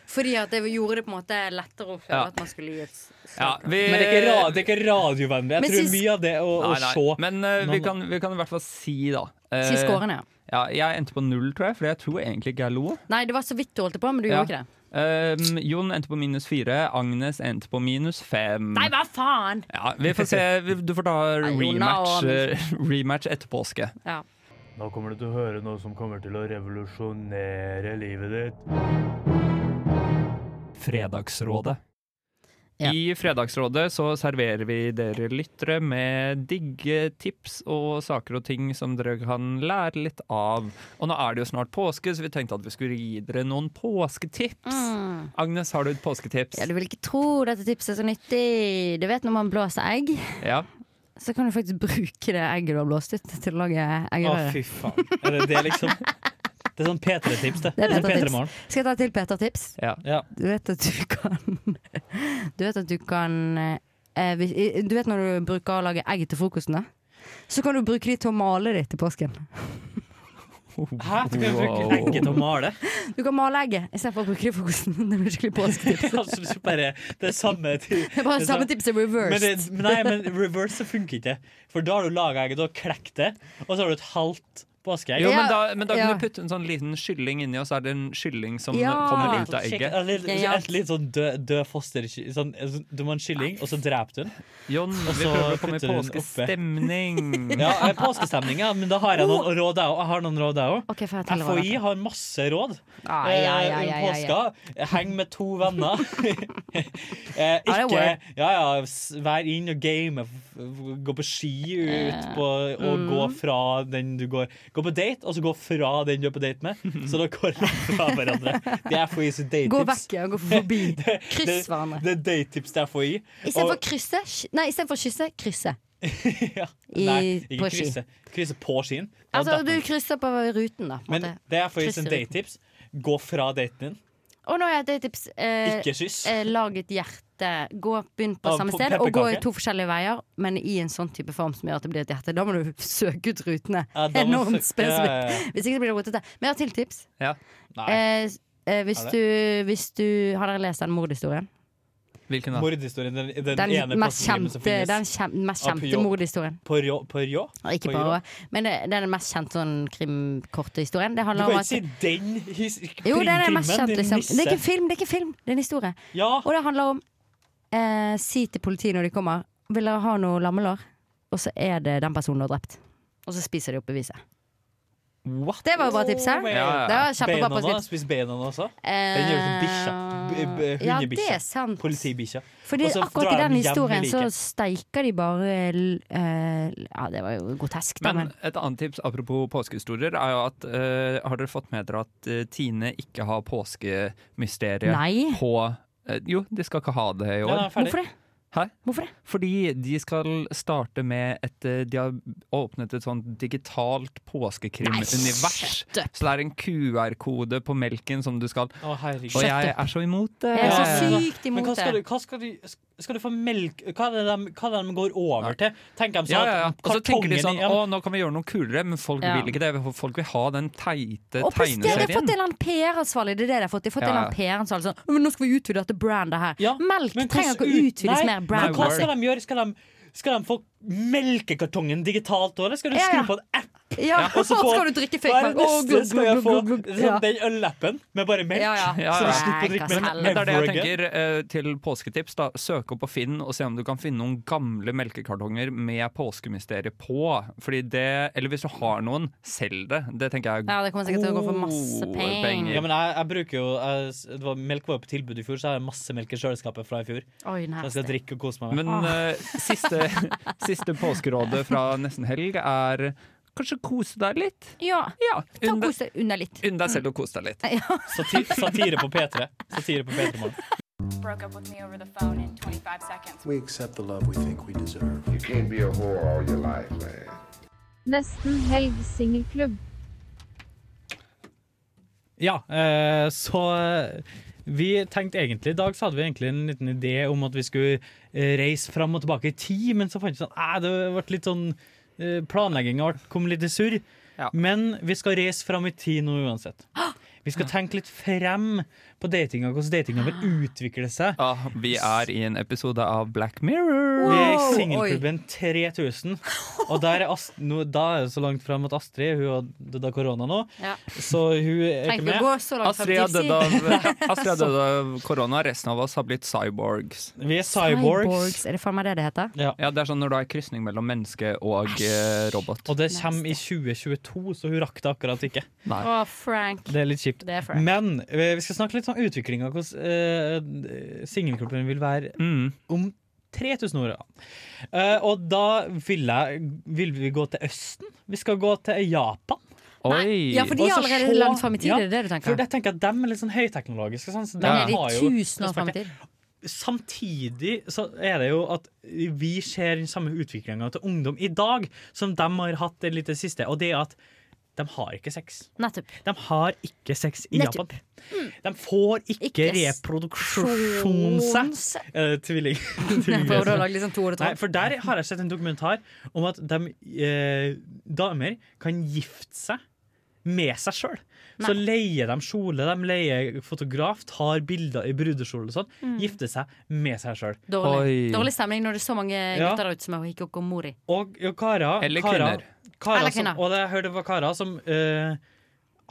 G: Fordi at det gjorde det på en måte lettere å føle
H: Ja.
G: at man skulle gi et
H: Ja, vi,
I: Men det er ikke, ra- det er ikke radiovennlig. Jeg
G: Men
I: tror
G: sist-
I: mye av det å, å
H: Nei, nei.
I: se
H: Men eh, vi,
I: Noen-
H: kan, vi kan i hvert fall si, da eh,
G: Si scoren, ja.
H: ja. Jeg endte på null, tror jeg, for jeg tror egentlig ikke jeg lo.
G: Nei, det var så vidt du holdt det på, men du
H: Ja.
G: gjorde ikke det.
H: Um, Jon endte på minus fire, Agnes endte på minus fem.
G: Nei, hva faen!
H: Ja, vi får se. Vi- Du får
G: (laughs)
H: ta
G: Jonna og
H: rematch,
G: Agnes.
H: eh, (laughs) rematch etter påske.
G: Ja.
T: Nå kommer du til å høre noe som kommer til å revolusjonere livet ditt.
H: Fredagsrådet. I Fredagsrådet så serverer vi dere lyttere med digge tips og saker og ting som dere kan lære litt av. Og nå er det jo snart påske, så vi tenkte at vi skulle gi dere noen påsketips.
G: Mm.
H: Agnes, har du et påsketips?
G: Ja, du vil ikke tro dette tipset er så nyttig. Du vet når man blåser egg,
H: Ja.
G: så kan du faktisk bruke det egget du har blåst ut, til å lage
I: Å, fy
G: eggerøre.
I: faen. Er det, det er liksom Det er sånn P3-tips, det.
G: Det er
I: sånn
G: Peter-tips.
I: P3-morgen.
G: Skal jeg ta et til Peter-tips?
I: Ja.
G: Du vet at du kan (laughs) Du vet at du kan eh, hvis- i- Du vet når du bruker å lage egg til frokosten, da? Så kan du bruke de til å male de til påsken.
I: Hæ? Du kan bruke
H: Wow.
I: egget til å (laughs) male?
G: Du kan male egget istedenfor å bruke det i frokosten. (laughs) Det blir skikkelig påsketips.
I: altså, det er bare det er samme ti-
G: Det er bare samme tips i reverse.
I: Men, det, men nei, men reverse funker ikke. For da har du laga egget, du har klekt det, og så har du et halvt på på Askøy.
H: Jo, men da, men da kan du putte en sånn liten kylling inni, og så er det en kylling som
I: Ja.
H: kommer ut av
I: Sånn
H: egget.
I: skikkelig- Litt, litt, litt sånn død, død foster sånn, sånn, Du må ha en kylling, og så dreper du den.
H: Jon,
I: og
H: vi
I: så
H: prøver å komme i
I: putter du den
H: påskestemning.
I: oppe. (laughs) ja, eh, påskestemning, ja, men da har jeg noen råd, jeg òg. Jeg har noen råd, jeg òg.
G: Oh. Ok, får jeg telle hva
I: FHI
G: det er?
I: har masse råd.
G: Ah, ja,
I: Eh,
G: ja, ja,
I: om
G: ja, ja.
I: Påska. Heng med to
G: (laughs)
I: venner. eh,
G: Ja, det er
I: ikke
G: word.
I: ja, ja, s- vær inn og game, f- f- gå på ski ut på, og
G: Mm.
I: gå fra den du går Gå på date, og så gå fra den du er på date med. Så dere går langt fra hverandre. Det er FHI sitt
G: (laughs) Gå
I: datetips.
G: vekk, ja. Gå forbi.
I: (laughs) Det,
G: Kryss hverandre.
I: det er datetips til FHI. (laughs)
G: Istedenfor
I: Og-
G: krysse ky- Nei, istedenfor kysse, krysse. i-
I: Nei,
G: på
I: ikke
G: ski.
I: krysse. Krysse på skien. Da
G: Altså,
I: detter
G: du
I: man.
G: krysser på ruten, da. På
I: Men
G: en måte.
I: det er FHI sitt
G: Krysser ruten.
I: datetips. Gå fra daten din.
G: Og nå er det tips eh,
I: Ikke kyss.
G: eh, Lag et hjerte. Gå, begynn på
I: Ah,
G: samme
I: på
G: sted, og gå i
I: pepperkake.
G: to forskjellige veier, men i en sånn type form som gjør at det blir et hjerte. Da må du (laughs) søke ut rutene.
I: Ja, da må du søke-
G: Enormt spesifikt.
I: ja, ja, ja.
G: Hvis ikke så blir det rotete. Men jeg har til tips.
H: Ja.
G: Eh, s- eh, hvis,
I: Er
G: du, hvis du Har dere lest den mordhistorien?
H: Hvilken da?
I: Mordhistorien. Den, den,
G: Den,
I: ene
G: mest
I: personen som
G: kjente,
I: finnes.
G: den kjem, mest
I: Ah,
G: kjente
I: Poirot.
G: mordhistorien.
I: Poirot? Poirot?
G: Og Ikke
I: Poirot?
G: bare, men det, det er den mest kjente sånn krimkorte historien.
I: Du
G: Det handler
I: kan
G: om
I: ikke
G: at
I: si den his
G: Jo, det er det
I: krimmen,
G: mest kjente,
I: din
G: liksom.
I: nisse.
G: Det er ikke en film, det er ikke en film, det er en historie.
I: Ja.
G: Og det handler om eh, Si til politiet når de kommer Vil dere ha noe lammelår? Og så er det den personen du har drept. Og så spiser de opp beviset. Det var jo bra tips, hæ?
I: Oh, men-
G: Det var kjempebra på
I: Banan, da.
G: tips.
I: Spis banan også.
G: Eh,
I: Den gjør som bikkja.
G: ja, det er
I: Hundebikkja. Politibikkja.
G: Fordi
I: Og så
G: akkurat
I: drar
G: i den
I: de hjem
G: historien
I: med
G: så
I: liket.
G: steiker de bare eh, Ja, det var jo grotesk, da,
H: Men
G: men
H: et annet tips apropos påskehistorier er jo at eh, Har dere fått med dere at eh, Tine ikke har påskemysteriet
G: Nei.
H: på eh, Jo, de skal ikke ha det i år.
G: Ja, ferdig. Hvorfor det?
H: Hæ?
G: Hvorfor det?
H: Fordi de skal starte med et eh, De har åpnet et sånt digitalt påskekrimunivers.
G: Nei,
H: Så det er en QR-kode på melken som du skal
I: Å, herregud.
H: Og jeg er så imot det.
I: Ja, ja, ja.
G: sykt imot
I: Men hva skal
G: det.
I: du, hva skal du, skal du få melk Hva er det de, hva er det de går over til? Tenker de
H: Ja,
I: sånn
H: ja, ja.
I: at
H: Og så tenker de
I: kartongen i-
H: sånn
I: ja,
H: Å, nå kan vi gjøre noe kulere, men folk
G: Ja.
H: vil ikke det. Folk vil ha den teite
G: Og plutselig har de fått
H: tegneserien.
G: en eller annen PR-ansvarlig. Det er det de har fått. De har fått en eller annen PR-ansvarlig sånn «Men Nå skal vi utvide dette brandet her. Melk trenger ikke å utvides
I: Nei,
G: mer.
I: men
G: Brand
I: hva skal de gjøre? Skal de, skal de få melkekartongen digitalt òg, eller skal du skru på en app?
G: Ja, og så
I: få-
G: (laughs) skal du drikke fake
I: Hva er
G: melk.
I: det
G: Å,
I: neste?
G: glug,
I: skal jeg
G: glug,
I: få
G: glug, glug, glug.
I: sånn,
G: Ja.
I: den øllappen med bare melk?
G: Ja, ja.
H: Ja,
I: Så
H: ja.
I: du slipper å drikke
H: Men,
I: melk
H: men det er det jeg
I: ever again.
H: tenker eh, til påsketips. da Søk opp på Finn og se om du kan finne noen gamle melkekartonger med påskemysteriet på. Fordi det, Eller hvis du har noen, selg det. Det tenker jeg
G: Ja, det kommer sikkert til å gå
I: Oh,
G: for masse
H: gode
G: penger.
I: Ja, men jeg, jeg bruker jo jeg, s- det var, Melk var jo på tilbud i fjor, så jeg har masse melk i kjøleskapet fra i fjor.
G: Oi,
I: så jeg skal
G: nasty.
I: drikke og kose meg. med.
H: Men eh, siste, (laughs) siste påskerådet fra nesten helg er kanskje kose deg litt.
G: Ja. Ta
H: unn deg-
G: kos deg under litt. (laughs)
H: Unn deg selv å kose deg litt.
G: Ja.
I: Sati- satire på P3. Satire på P3 morgen.
U: Broke up with me over the phone in 25 seconds.
V: We accept the love we think we deserve. You can't be a whore all your life, man.
W: Nesten helg singelklubb.
I: Ja, eh, så eh, vi tenkte egentlig, I dag så hadde vi egentlig en liten idé om at vi skulle eh, reise fram og tilbake i tid, men så fant vi sånn eh, Det ble litt sånn eh, Planlegginga kom litt i surr. Men vi skal reise fram i tid nå uansett. Vi skal tenke litt frem på datinga, hvordan datinga vil utvikle seg.
H: Ah, Vi er i en episode av Black Mirror.
I: Vi er i singelklubben 3000, og der er Ast nå, da er det så langt fram at Astrid Hun har dødd av korona nå,
G: Ja.
I: så hun er
G: Trenger
I: ikke
G: ikke
I: med.
G: å gå så langt fram
H: Astrid har
G: til
H: dødd av, Astrid har dødd av korona, resten av oss har blitt cyborgs.
I: Vi er
G: Cyborgs, Er det faen meg det det heter?
I: Ja.
H: Det er sånn når du er krysning mellom menneske og eh, robot.
I: Og det kommer i 2022, så hun rakk det akkurat ikke.
H: Nei.
G: Å, Frank.
I: Det er litt kjipt.
G: Det er Frank.
I: Men eh, vi skal snakke litt om utviklinga, hvordan eh, singelklubben vil være
H: Mm.
I: om 3000 år. ja. Eh, og da vil, jeg, vil vi gå til Østen. Vi skal gå til Japan.
H: Oi.
G: ja, for de
I: Og
G: er
I: så
G: allerede langt frem i tid, er det det du tenker?
I: For jeg tenker at de er litt sånn høyteknologiske. Sånn, så de
G: Da er de
I: har jo
G: tusen år frem i tid.
I: Samtidig så er det jo at vi ser den samme utviklinga til ungdom i dag som de har hatt det litt det siste, og det er at de har ikke sex.
G: Nettopp.
I: De har ikke sex i
G: Nettopp. Mm.
I: Japan. De får ikke, reproduksjonssex. Eh, tvilling.
G: (laughs)
I: (laughs) tvilling-
G: prøver å lage litt sånn to og et
I: Nei,
G: halvt.
I: for der har jeg sett en dokumentar om at de, eh, damer kan gifte seg med seg sjøl.
A: Nei.
I: Så leier de kjole, de leier fotograf, tar bilder i brudekjole og sånn.
G: Mm.
I: Gifter seg med seg sjøl.
G: Dårlig. Dårlig stemning når det er så mange
I: Ja.
G: gutter der ute som er hikikomori.
I: Og, og karer
H: Eller
I: karer-
H: kvinner.
I: karer
G: Eller
I: som-
G: kvinner.
I: Og det, jeg hørte det var karer som eh,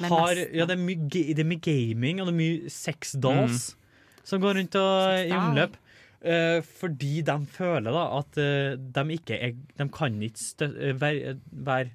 G: Med
I: har
G: mest,
I: Ja, det er mye, ga- det er mye gaming, og det er mye sex
H: Mm.
I: dolls som går rundt og, i
G: doll.
I: omløp. eh, fordi de føler da at eh, de ikke er De kan ikke stø, eh, være, være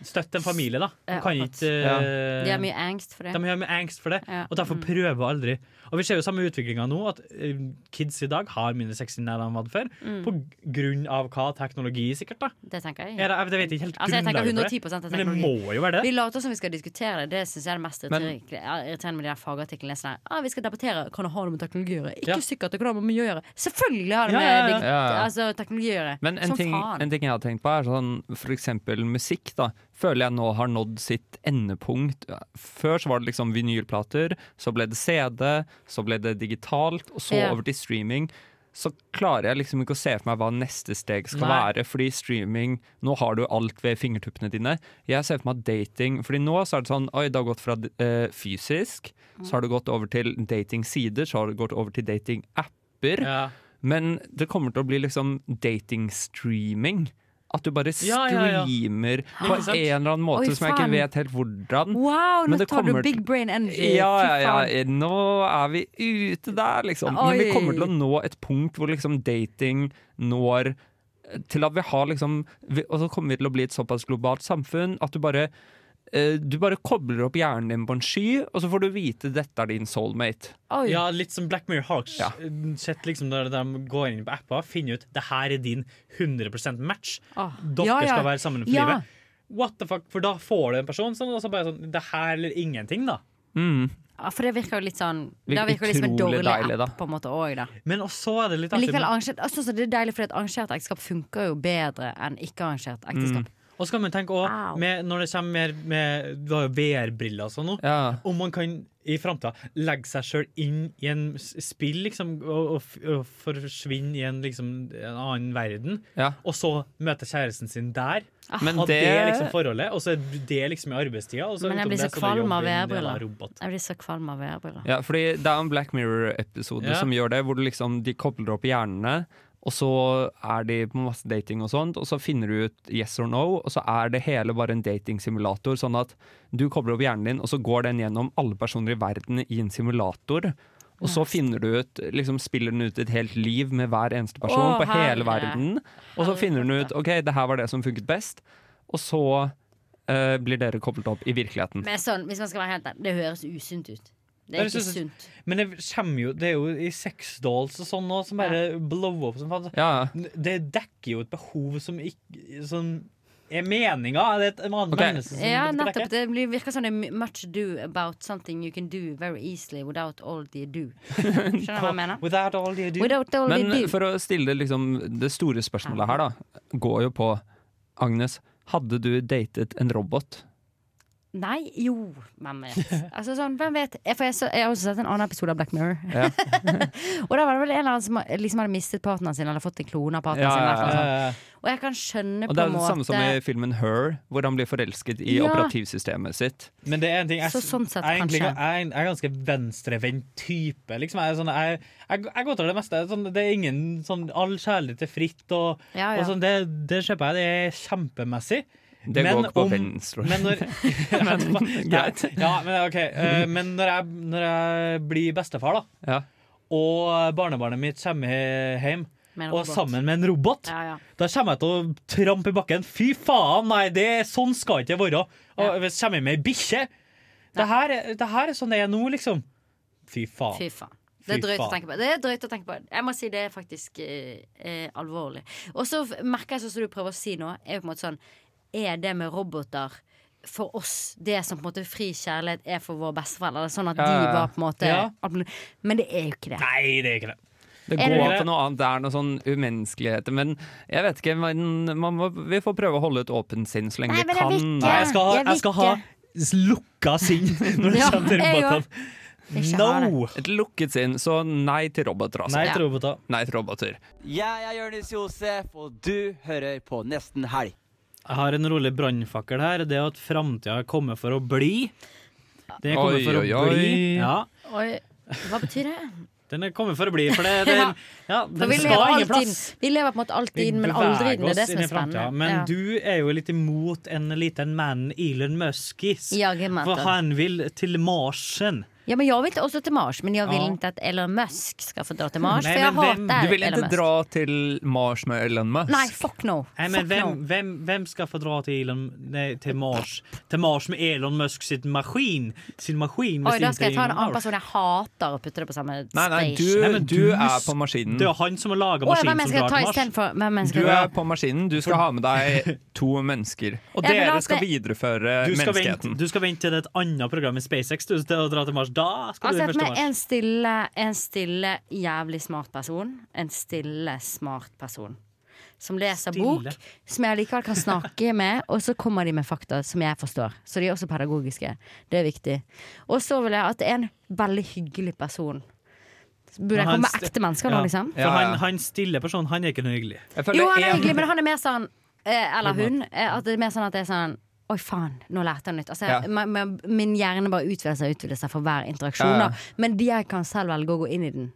I: Støtte en familie, da. De
G: Ja,
I: kan
G: akkurat.
I: ikke eh,
G: De har mye angst for det.
I: De har mye angst for det,
G: Ja.
I: og derfor
G: Mm.
I: prøver aldri. Og vi ser jo samme utviklinga nå, at eh, kids i dag har mindre sex enn de hadde før.
G: Mm.
I: På grunn av hva? Teknologi, sikkert, da.
G: Det tenker jeg.
I: Er det, jeg vet ikke helt
G: Altså, jeg tenker
I: grunnlaget
G: 110
I: for det.
G: er
I: Men det
G: teknologi.
I: må jo være
G: Vi
I: det.
G: later som vi skal diskutere det. Det syns jeg er det mest
I: Men-
G: irriterende irriterende med de der fagartiklene. Sånn her, ah, vi skal debattere kan det ha noe med teknologi å gjøre. Ikke sikkert det kan ha noe med miljø å gjøre. Selvfølgelig har det
H: Ja,
G: med
H: ja, ja.
G: dig-
H: Ja, ja.
G: Altså, teknologi å gjøre.
H: Men en
G: som
H: ting,
G: faen.
H: en ting jeg har tenkt på er sånn, for eksempel musikk da, føler jeg nå har nådd sitt endepunkt. Før så var det liksom vinylplater, så ble det CD, så ble det digitalt, og så
G: Ja.
H: over til streaming. Så klarer jeg liksom ikke å se for meg hva neste steg skal
I: Nei.
H: være, fordi streaming, nå har du alt ved fingertuppene dine. Jeg ser for meg dating, fordi nå så er det sånn, oi, det har gått fra eh, fysisk, så har det gått over til dating-sider, så har det gått over til dating-apper. Men det kommer til å bli liksom dating-streaming. At du bare
I: Ja, ja, ja.
H: streamer på
I: Ikke sant?
H: en eller annen måte
G: Oi,
H: som jeg ikke
G: faen.
H: vet helt hvordan.
G: Wow,
H: Men
G: nå
H: det
G: tar du
H: kommer til-
G: big brain energy.
H: Ja,
G: Fy
H: ja,
G: faen.
H: ja. Nå er vi ute der, liksom. Men vi
G: Oi.
H: kommer til å nå et punkt hvor liksom dating når eh, til at vi har liksom vi- Og så kommer vi til å bli et såpass globalt samfunn at du bare eh, du bare kobler opp hjernen din på en sky, og så får du vite dette er din soulmate.
I: Ja, litt som Black Mirror Hawks. Sett liksom når de går inn på appa, finner ut det her er din 100 match.
G: Ah.
I: Dere
G: Ja, ja.
I: skal være sammen for
G: Ja.
I: livet. What the fuck, For da får du en person som også bare er sånn Det her eller ingenting, da.
G: Ja, for det virker jo litt sånn
I: Virker
G: Det virker jo litt som en
I: utrolig
G: dårlig
I: deilig, da.
G: app på en måte òg, da.
I: Men også er det litt
G: Men
I: artig
G: likevel ah.
I: med-
G: arrangert, jeg synes det er deilig, fordi at arrangert ekteskap funker jo bedre enn ikke-arrangert ekteskap.
I: Mm. Og så kan man tenke også, med, når det kommer mer med du har jo VR-briller og sånn nå, om man kan i framtida legge seg sjøl inn i en s- spill liksom, og, og, f- og forsvinne i en, liksom, en annen verden, og så møte kjæresten sin der.
G: Ah.
H: Men
I: og det er
H: det-
I: liksom forholdet, og så er det liksom i arbeidstida. og så
G: Men jeg
I: utom
G: blir
I: det
G: så
I: er det
G: kvalm av
I: jobben, en eller
G: VR-briller.
I: annen robot.
G: Jeg blir så kvalm av VR-briller.
H: Ja, fordi det er en Black Mirror-episode
G: Ja.
H: som gjør det, hvor du liksom, de kobler opp hjernene, og så er de på masse dating og sånt, og så finner du ut yes or no, og så er det hele bare en datingsimulator, sånn at du kobler opp hjernen din, og så går den gjennom alle personer i verden i en simulator. Og så finner du ut, liksom spiller den ut et helt liv med hver eneste person
I: Å,
H: på hele
I: herre.
H: verden. Og så finner den ut ok, det her var det som funket best, og så eh, blir dere koblet opp i virkeligheten.
G: Men sånn, hvis man skal være helt ærlig, det høres usunt ut. Det
I: Ja,
G: er
I: det
G: ikke
I: synes jeg-
G: sunt.
I: Men det, kommer jo, det er jo i sex dolls og sånn nå, som bare blow up som faen. Det dekker jo et behov som ikke som er meninga. Det er et en annen menneske som
G: Ja,
I: det
G: nettopp.
I: dekker.
G: Det blir, virker som det er much do about something you can do very easily without all the do. Skjønner du hva jeg mener?
I: Without all the do.
G: Without all the
H: Men
G: do.
H: for å stille liksom, det store spørsmålet her, da, går jo på Agnes. Hadde du datet en robot?
G: Nei, jo, hvem vet. Altså sånn, hvem vet? Jeg, for jeg, så, jeg har også sett en annen episode av Black Mirror.
H: Ja.
G: (laughs) og da var det vel en eller annen som liksom hadde mistet partneren sin, eller fått en klone av partneren
H: Ja,
G: sin.
H: ja,
G: eller noe
H: ja,
I: Eh,
G: sånt.
H: ja, ja.
G: Og jeg kan skjønne
H: Og det
G: på
H: er
G: en
H: det
G: måte
H: samme som i filmen Her, hvor han blir forelsket i
G: Ja.
H: operativsystemet sitt.
I: Men det er en ting jeg,
G: Så sånn sett,
I: jeg, er egentlig- jeg,
G: kanskje.
I: er en- jeg er ganske venstrevendt type. Liksom. Jeg, er sånn, jeg, jeg, jeg godtar det meste. Sånn, det er ingen sånn all kjærlighet er fritt. Og,
G: Ja, ja.
I: og sånn, det, det kjøper jeg. Det er kjempemessig.
H: Det går ikke på venstre.
I: Men
H: (laughs)
I: når, (laughs) men,
H: greit.
I: Ja, men, ok, eh, men når, jeg, når jeg blir bestefar, da,
H: Ja.
I: og barnebarnet mitt kommer he- hjem
G: Med en
I: og
G: robot.
I: sammen med en robot, da kommer jeg til å trampe i bakken. Fy faen, nei, det, er- sånn skal ikke det være. Og hvis jeg kommer med ei bikkje det her, er- det her er sånn det er nå, liksom. Fy faen.
G: Fy faen. Det
I: Fy
G: er drøyt å
I: faen.
G: tenke på. Det er drøyt å tenke på. Jeg må si det er faktisk eh, eh, alvorlig. Og så f- merker jeg sånn som du prøver å si nå, er jo på en måte sånn Er det med roboter for oss det som på en måte fri kjærlighet er for våre besteforeldre? Eller Sånn at
H: Ja,
G: de
H: ja.
G: var på en måte
H: Ja.
G: alt mulig. Men det er jo ikke det.
I: Nei, det er ikke det.
H: Det
G: Er
H: går
G: det det?
H: på noe annet. Det er noe sånn umenneskeligheter. Men jeg vet ikke. Man, man må, vi får prøve å holde et åpent sinn så lenge
G: Nei, men
H: vi
G: jeg
H: kan.
G: vil ikke. Nei, jeg skal ha- Jeg vil jeg skal ha ikke.
I: lukka sinn (laughs) når
G: det Ja, kommer til jeg robotene. Ikke ha
H: No! Et lukket sinn. Så nei til roboter, altså.
I: Nei til Ja. roboter.
H: Nei til roboter.
F: Jeg er Jonis Josef, og du hører på Nesten Helg.
I: Jeg har en rolig brannfakkel her. Det er at framtida kommer for å bli. Den er
H: Oi,
I: kommet for
H: oi,
I: å
H: oi.
I: bli. Ja,
G: Oi, hva betyr det?
I: den er kommet for å bli, for
G: (laughs)
I: det, den, ja,
G: For
I: den
G: vi lever,
I: skal ingen
G: alltid,
I: plass.
G: vi lever på en måte alltid inn, men aldri inn. Det er det som er spennende.
I: Men
G: Ja.
I: du er jo litt imot en liten mann Elon Muskis.
G: Ja, jeg er imot
I: for
G: han.
I: han vil til Marsen.
G: Ja, men jeg vil til- også til Mars, men jeg vil
I: Ja.
G: ikke at Elon Musk skal få dra til Mars.
H: Nei,
G: for jeg
H: men hvem-
G: hater
H: Du vil
G: Elon
H: ikke
G: Musk.
H: dra til Mars med Elon Musk?
G: Nei, fuck no.
I: Nei, men
G: fuck
I: hvem,
G: no.
I: hvem, hvem skal få dra til, Elon, nei, til Mars Til Mars med Elon Musk sitt maskin? Sin maskin med
G: Oi,
I: sin
G: da skal jeg ta en
I: ting.
G: annen person jeg hater, og putte det på samme
H: Nei, nei, du,
G: station.
I: men
H: du
I: du
H: er
I: s-
H: på maskinen.
I: Det er han som har laga
G: Å, ja,
I: maskinen
G: hvem
I: som
G: jeg skal
I: drar
G: ta
I: til Mars.
G: istedenfor? Hvem jeg skal
H: Du
G: dra?
H: er på maskinen. Du skal ha med deg to mennesker. Og
G: Ja, men la
H: dere
G: oss
H: skal
G: det-
H: videreføre
I: Du skal, vente,
H: menneskeheten.
I: du skal vente til det er et annet program i SpaceX du, til å dra til Mars. Da skal
G: Altså,
I: du
G: men
I: først til Mars.
G: en stille, en stille, jævlig smart person. En stille, smart person. Som leser
I: Stille.
G: bok, som jeg likevel kan snakke (laughs) med, og så kommer de med fakta som jeg forstår. Så de er også pedagogiske. Det er viktig. Og så vil jeg at det er en veldig hyggelig person. Burde
I: Men
G: jeg
I: han
G: komme med
I: st-
G: ekte mennesker
I: Ja.
G: nå, liksom?
I: For han, han stille personen, han er ikke noe hyggelig.
G: Jo, han er hyggelig, men han er mer sånn eh, Eller hun. eh, At det er mer sånn at det er sånn Oi, faen, nå lærte jeg noe nytt. Altså,
I: Ja.
G: ma- ma- min hjerne bare utvider seg og utvider seg for hver interaksjon.
H: Ja, ja.
G: da. Men de- jeg kan selv velge å gå inn i den.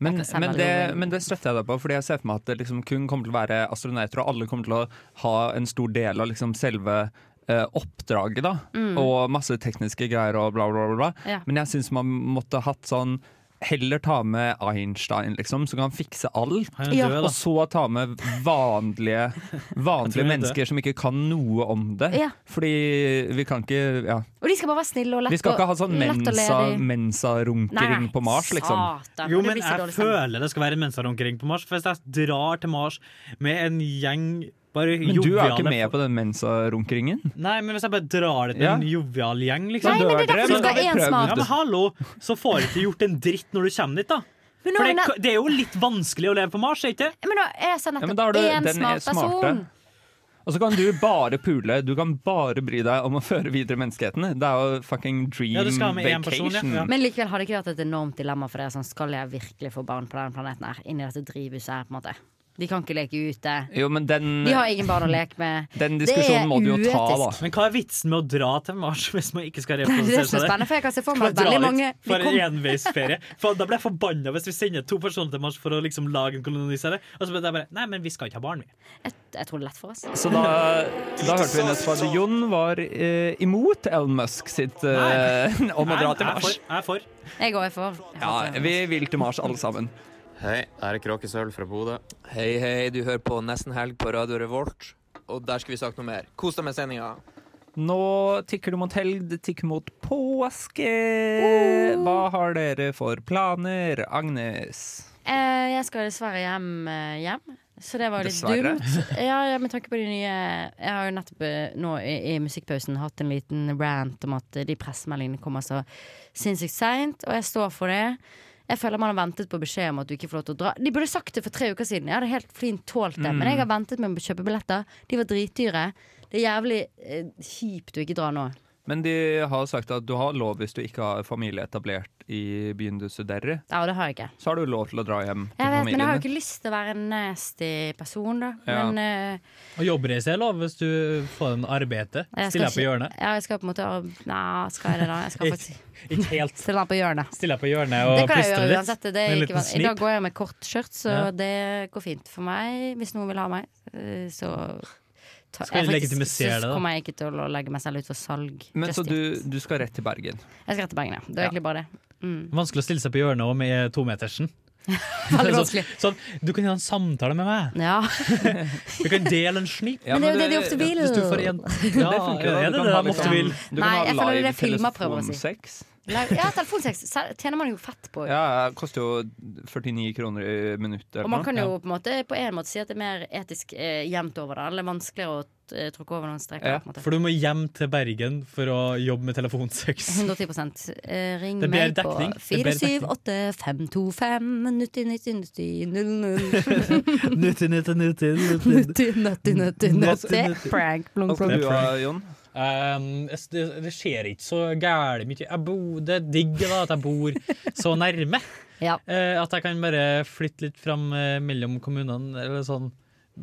H: Men,
G: Jeg kan selv
H: men,
G: velge
H: det,
G: å gå inn.
H: men det støtter jeg deg på, Fordi jeg ser for meg at det liksom kun kommer til å være astronauter, og alle kommer til å ha en stor del av liksom selve eh, oppdraget, da.
G: Mm.
H: Og masse tekniske greier og bla, bla, bla. bla.
G: Ja.
H: Men jeg syns man måtte hatt sånn Heller ta med Einstein, liksom, som kan fikse alt.
I: Han er Ja. død, da.
H: Og så ta med vanlige,
I: tror
H: vanlige
I: han er død.
H: mennesker som ikke kan noe om det.
G: Ja.
H: Fordi vi kan ikke ja.
G: Og de skal bare være snille og lett
H: Vi skal ikke
G: og-
H: ha sånn
G: lett og
H: mensa-
G: ledig.
H: mensa-runkering
G: Nei,
H: på Mars, liksom.
G: satan,
I: Jo,
G: det
I: men
G: blir så
I: jeg
G: dårlig stemning.
I: føler det skal være mennesker omkring på Mars. For hvis jeg drar til Mars med en gjeng bare
H: Men du er jo
I: joviale
H: ikke med på den mensa-runkeringen?
I: Nei, men hvis jeg bare drar det til
H: Ja.
I: en jovial gjeng, liksom
H: Nei, men det er derfor
I: Så-
H: du skal ha en smart.
I: Ja, men hallo, så får du ikke gjort en dritt når du kommer dit, da.
G: Men nå
I: For
G: er
I: det,
G: det-
I: det er jo litt vanskelig å leve på Mars, er ikke det?
G: Men da er jeg
H: Ja,
G: sånn
H: men
G: nettopp
H: da har du
G: én
H: den er
G: smart
H: smarte.
G: person.
H: Og så kan du bare pule. Du kan bare bry deg om å føre videre menneskeheten. Det er jo fucking dream
I: Ja, du skal ha med én
H: vacation.
I: person, ja. Ja.
G: Men likevel har det ikke vært et enormt dilemma for deg. Sånn, skal jeg virkelig få barn på denne planeten her? Inni dette drivhuset her, på en måte. De kan ikke leke ute.
H: Jo, men den,
G: De har ingen barn å leke med.
H: (laughs) den
G: Det er
H: diskusjonen må du jo ta, da.
I: Men hva er vitsen med å dra til Mars (laughs) hvis man ikke skal
G: Det er det som
I: reprodusere
G: er spennende,
I: seg?
G: for jeg kan se for
I: Skal
G: meg at
I: dra
G: veldig
I: dit
G: mange vi
I: for
G: kom-
I: en enveisferie. For Da blir jeg forbanna hvis vi sender to personer til Mars for å liksom lage en kolonisere. Og så blir det bare Nei, men vi skal ikke ha barn, vi.
G: Jeg tror det er lett for oss.
H: Så da, da hørte vi nettopp at Jon var eh, imot Elon Musk sitt eh, om å dra til Mars.
I: Jeg er for.
G: Jeg går for. Jeg
H: Ja,
G: går for.
H: vi vil til Mars alle sammen.
A: Hei, her er Kråkesølv fra Bodø.
F: Hei, hei, du hører på Nesten Helg på Radio Revolt, og der skal vi snakke noe mer. Kos deg med sendinga.
H: Nå tikker det mot helg, det tikker mot påske. Hva har dere for planer, Agnes?
G: Eh, Jeg skal dessverre hjem, eh, hjem. Så det var jo litt
H: Dessverre.
G: dumt. Ja, ja, Med tanke på de nye Jeg har jo nettopp eh, nå i, i musikkpausen hatt en liten rant om at eh, de pressemeldingene kommer så sinnssykt seint, og jeg står for det. Jeg føler man har ventet på beskjed om at du ikke får lov til å dra. De burde sagt det for tre uker siden. Jeg hadde helt flint tålt det.
X: Mm.
G: Men jeg har ventet med å kjøpe billetter. De var dritdyre. Det er jævlig eh, kjipt å ikke dra nå.
H: Men de har sagt at du har lov hvis du ikke har familie etablert i byen du studerer.
G: Ja, og det har jeg ikke.
H: Så har du lov til å dra hjem til
G: Jeg vet, men jeg har jo
H: familien. din.
G: ikke lyst til å være en nasty person, da.
I: Ja.
G: Men eh,
I: Og jobbreise er lov hvis du får en arbeid.
G: Jeg skal
I: Stille deg på
G: ikke-
I: hjørnet.
G: Ja, jeg skal på en måte arbe- Nei, skal jeg det da? Jeg skal
H: (laughs)
G: faktisk
I: Ikke helt.
G: Stille deg på hjørnet.
I: Stille deg på hjørnet og
G: Det kan jeg
I: plystre
G: gjøre
I: litt.
G: uansett. Det
I: Med en
G: er ikke
I: liten
G: vanskelig. I dag
I: snip.
G: går jeg med kort skjørt, så
I: Ja.
G: det går fint for meg. Hvis noen vil ha meg, eh, så
H: Skal vi
G: ta- jeg faktisk-
H: legitimisere det,
G: Så
H: da?
G: kommer jeg ikke til å legge meg selv ut for salg.
H: Men
G: Just
H: så
G: yet.
H: du, du skal rett til Bergen.
G: Jeg skal rett til Bergen, ja. Det er
H: Ja.
G: egentlig
H: (laughs)
G: bare det. Mm.
I: Vanskelig å stille seg på hjørnet òg med tometersen.
G: Veldig
I: Sånn-
G: vanskelig.
I: Sånn, du kan ha en samtale med meg.
G: Ja.
I: Vi kan dele en
G: (laughs)
I: snip.
G: Men det er jo det de ofte vil.
I: Hvis du får en,
G: (laughs)
H: Ja, det funker jo. da. Du
I: Er det
H: kan
I: det
H: ha
I: de
H: liksom-
I: ofte
G: sånn-
I: vil?
H: Du
G: Nei, jeg
H: kan ha
G: føler det
H: live
G: er filmer prøver å si.
H: telefonsex.
G: Nei, Ja, telefonsex så tjener man jo fett på.
H: Ja, det koster jo 49 kroner i minuttet. eller
G: Og man
H: noe.
G: kan jo på en måte på en måte si at det er mer etisk eh, jevnt over det. Eller vanskeligere å eh, tråkke over noen streker. på en måte.
I: For du må hjem til Bergen for å jobbe med telefonsex.
G: (laughs) 110 eh, Ring
I: Det blir
G: meg på
I: dekning. Det blir dekning. (laughs)
G: 478-525-9090-000.
I: Nutti, nutti, nutti,
G: nutti, nutti, nutti, nutti.
I: nutti.
G: Prank, blunk, blunk.
I: Um, jeg- det, det skjer ikke så gæli mye. Jeg bor- det er digg da, at jeg bor så nærme.
G: Ja.
I: Eh, at jeg kan bare flytte litt fram eh, mellom kommunene. Eller sånn.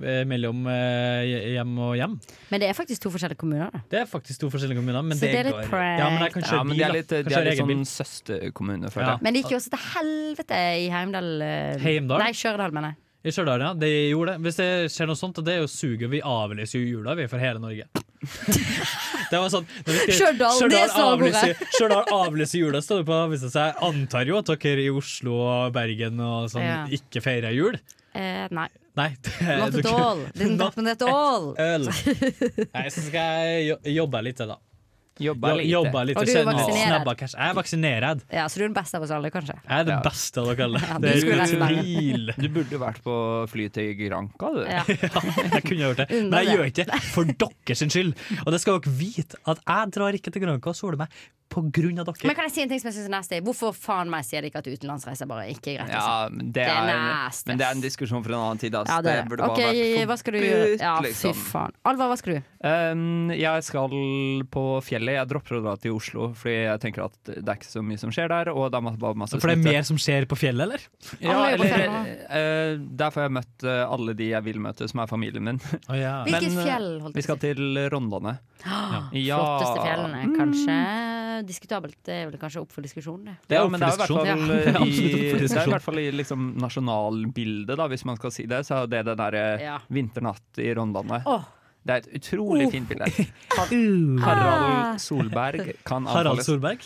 I: eh, mellom eh, hjem og hjem.
G: Men det er faktisk to forskjellige kommuner. da
I: Det er faktisk to forskjellige kommuner. Men
G: Så det er litt
I: går-
G: prank,
I: Ja, men det er kanskje
G: da.
H: Ja, men
I: bil,
H: de er
I: da.
H: litt, de
I: Kanskje
H: er litt
I: egen bil.
H: sånn søsterkommune, føler
I: Ja.
H: jeg.
G: Men det gikk jo også til helvete i Heimdal. eh,
I: Heimdal?
G: Nei, Stjørdal, mener jeg.
I: I Stjørdal, ja. Det gjorde det. Hvis det skjer noe sånt, og det er jo suget. Vi avlyser jo jula, vi, for hele
G: (laughs)
I: Norge. Det var sånn når vi skrev,
G: Stjørdal, det er slagordet. (laughs)
I: avlyser- Stjørdal avlyser jula, står det på avisa. Så jeg antar jo at dere i Oslo og Bergen og sånn
G: Ja.
I: ikke feirer jul.
G: Eh, nei.
I: Nei. (laughs) Det,
G: Not at all. Didn't
I: Eh, (laughs) Not
G: happen at all.
I: øl. Nei, så skal jeg jo- jobbe litt, til, da.
H: Jobbe
I: Jo-
H: litt.
I: Jobbe litt
G: Og
I: og
G: du er
I: kjenne litt
G: vaksinert.
I: snabba cash. Jeg er vaksinert.
G: Ja, Så du er den beste av oss alle, kanskje?
I: Jeg er det beste av dere alle.
G: Ja,
I: det
G: du
I: er
G: skulle vært der.
I: utvil. (laughs)
H: Du burde vært på fly til Granca, du.
G: Ja.
I: Jeg kunne ha gjort det, men
H: Unna
I: jeg
H: det.
I: gjør ikke det for deres skyld. Og det skal dere vite, at jeg drar ikke til Granca og soler meg på grunn av dere.
G: Men kan jeg si en ting som jeg synes er nasty? Hvorfor faen meg sier de ikke at utenlandsreiser bare ikke er greit?
H: Ja,
G: altså?
H: men det
G: Det er
H: er,
G: nasty,
H: men det er en diskusjon for en annen tid. ass.
G: Ja, det er det.
H: burde bare
G: Ok,
H: vært liksom.
G: hva skal du gjøre? Ja, fy faen. Alvar, hva skal du?
H: Um, jeg skal på fjellet. Jeg dropper å dra til Oslo, fordi jeg tenker at det er ikke så mye som skjer der. Og det er ma- bare masse
I: For det er
H: smitte.
I: mer som skjer på fjellet, eller?
H: Ja, eller, eh, der får jeg møtt eh, alle de jeg vil møte, som er familien min.
G: Hvilket
H: Men, eh,
G: fjell, holdt jeg
H: Vi skal til Rondane. Ja.
G: Flotteste fjellene, kanskje. Diskutabelt. Det er vel kanskje opp for diskusjon, det.
H: Ja, men det er jo i hvert fall,
G: Ja.
H: eh, i, det er i hvert fall i liksom nasjonalbildet, da, hvis man skal si det, så er det den derre
G: Ja.
H: vinternatt i Rondane.
G: Åh.
H: Det er et utrolig
G: Oh. Ah.
H: fint bilde.
G: (laughs) Uh.
H: Harald Solberg kan
I: Harald
H: anbefales.
I: Solberg?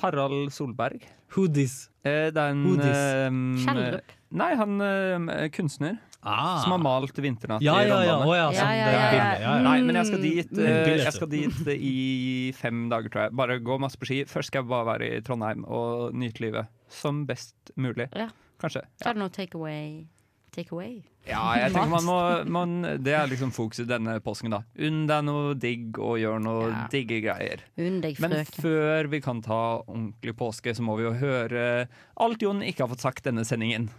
H: Harald Solberg.
I: Who this?
H: Eh, det er en
I: Who this?
H: eh,
I: Kjellrup?
H: Nei, han eh, kunstner.
I: Ah.
H: Som har malt 'Vinternatt'
I: Ja,
H: i
I: ja,
H: Rondane.
I: ja. Å, ja, sånn, Ja, det ja, bildet. ja, ja.
H: Nei, men jeg skal dit,
I: Mm.
H: eh,
I: Bildet,
H: jeg
I: så.
H: skal dit eh, i fem dager, tror jeg. Bare gå masse på ski. Først skal jeg bare være i Trondheim og nyte livet som best mulig.
G: Ja.
H: Kanskje.
G: Så er det noe take away. Take away?
H: Ja, jeg tenker man må, man, Det er liksom fokuset denne påsken, da. Unn deg noe digg og gjør noe digge greier.
G: Unn deg,
H: Men
G: frøken.
H: før vi kan ta ordentlig påske, så må vi jo høre alt Jon ikke har fått sagt denne sendingen.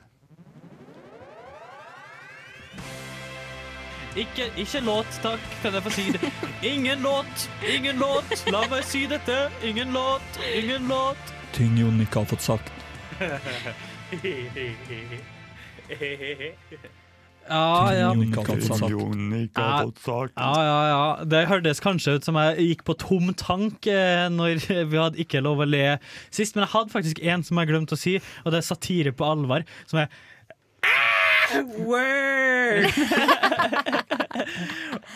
I: Ikke, ikke låt, takk, kan jeg få si det. Ingen låt, ingen låt, la meg si dette. Ingen låt, ingen låt.
D: Ting Jon ikke har fått sagt.
I: Ja, ja.
D: Jon ikke har fått sagt.
I: Ja, ja, ja, ja. Det hørtes kanskje ut som jeg gikk på tom tank eh, når (laughs) vi hadde ikke lov å le sist, men jeg hadde faktisk en som jeg glemte å si, og det er satire på alvor, som er Word! (laughs)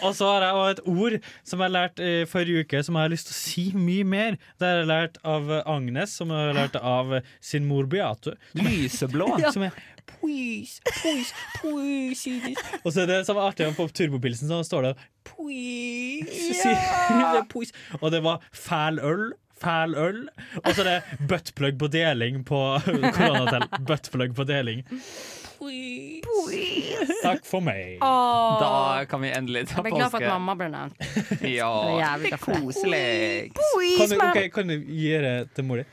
I: og så har jeg også et ord som jeg lærte i forrige uke, som jeg har lyst til å si mye mer. Det har jeg lært av Agnes, som jeg har lært av sin mor Beate.
H: Lyseblå?
I: Som er Please, please, please see this. Og så er det som er artig på turbopilsen, så står det (laughs) Please, det er please. Og det var fæl øl. Fæl øl. Og så er det buttplug på deling på (laughs) koronatell. Buttplug på deling. (laughs) Takk for meg.
G: Åh.
H: Da kan vi endelig ta
G: Jeg ble glad for at
H: påske.
G: mamma ble nevnt.
H: Ja,
G: Det var jævlig glad for det.
H: koselig.
I: Kan du, ok, kan du gi det til mor di?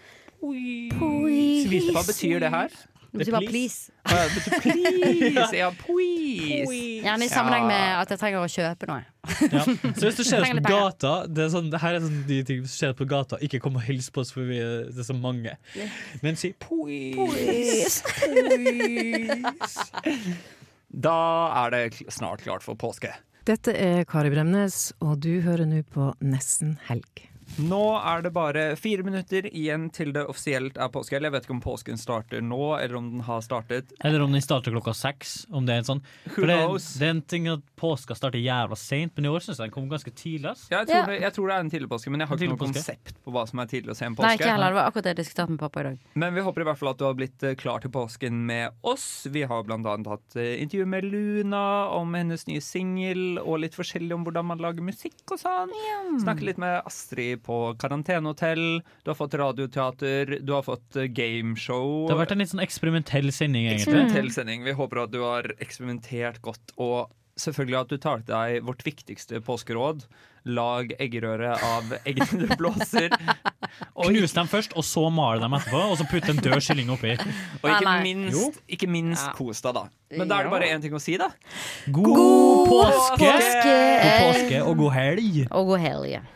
H: Hva betyr det her?
G: Det betyr bare please.
H: Å, ja, det betyr please. (laughs) Ja, please.
G: Gjerne i sammenheng
H: Ja.
G: med at jeg trenger å kjøpe noe.
I: Så hvis du ser oss på
G: Trenger litt penger.
I: gata det er sånn, det Her er sånn de ting som skjer på gata. Ikke kom og hils på oss, for vi er, det er så mange. Men si please.
H: Da er det kl- snart klart for påske.
C: Dette er Kari Bremnes, og du hører nå på Nesten helg.
H: Nå er det bare fire minutter igjen til det offisielt er påske. Eller jeg vet ikke om påsken starter nå, eller om den har startet.
I: Eller om den starter klokka seks. Om det er en sånn For
H: Who
I: det,
H: knows?
I: det er en ting at påska starter jævla seint, men i år syns jeg den kom ganske tidlig. ass.
H: Jeg tror, Det, jeg tror det er en tidlig påske, men jeg har ikke
I: Tidlig
H: noe
I: påske.
H: konsept på hva som er tidlig og sen påske.
G: Nei, ikke heller. Det var akkurat det jeg diskuterte med pappa i dag.
H: Men vi håper i hvert fall at du har blitt eh, klar til påsken med oss. Vi har bl.a. hatt eh, intervju med Luna om hennes nye singel, og litt forskjellig om hvordan man lager musikk og sånn. Snakket litt med Astrid på karantenehotell. Du har fått radioteater, du har fått eh, gameshow.
I: Det har vært en litt sånn eksperimentell sending, egentlig.
H: Eksperimentell sending. Vi håper at du har eksperimentert godt. Og selvfølgelig at du tar til deg vårt viktigste påskeråd. Lag eggerøre av eggene du blåser.
G: (laughs)
I: Knus dem først, og så male dem etterpå, og så putte en død kylling oppi.
H: (laughs) Og ikke
I: Nei, nei. Jo.
H: minst, ikke minst kos deg, da. Men da er det bare én ting å si, da.
I: God påske!
G: påske!
I: God påske og god helg.
G: Og god helg.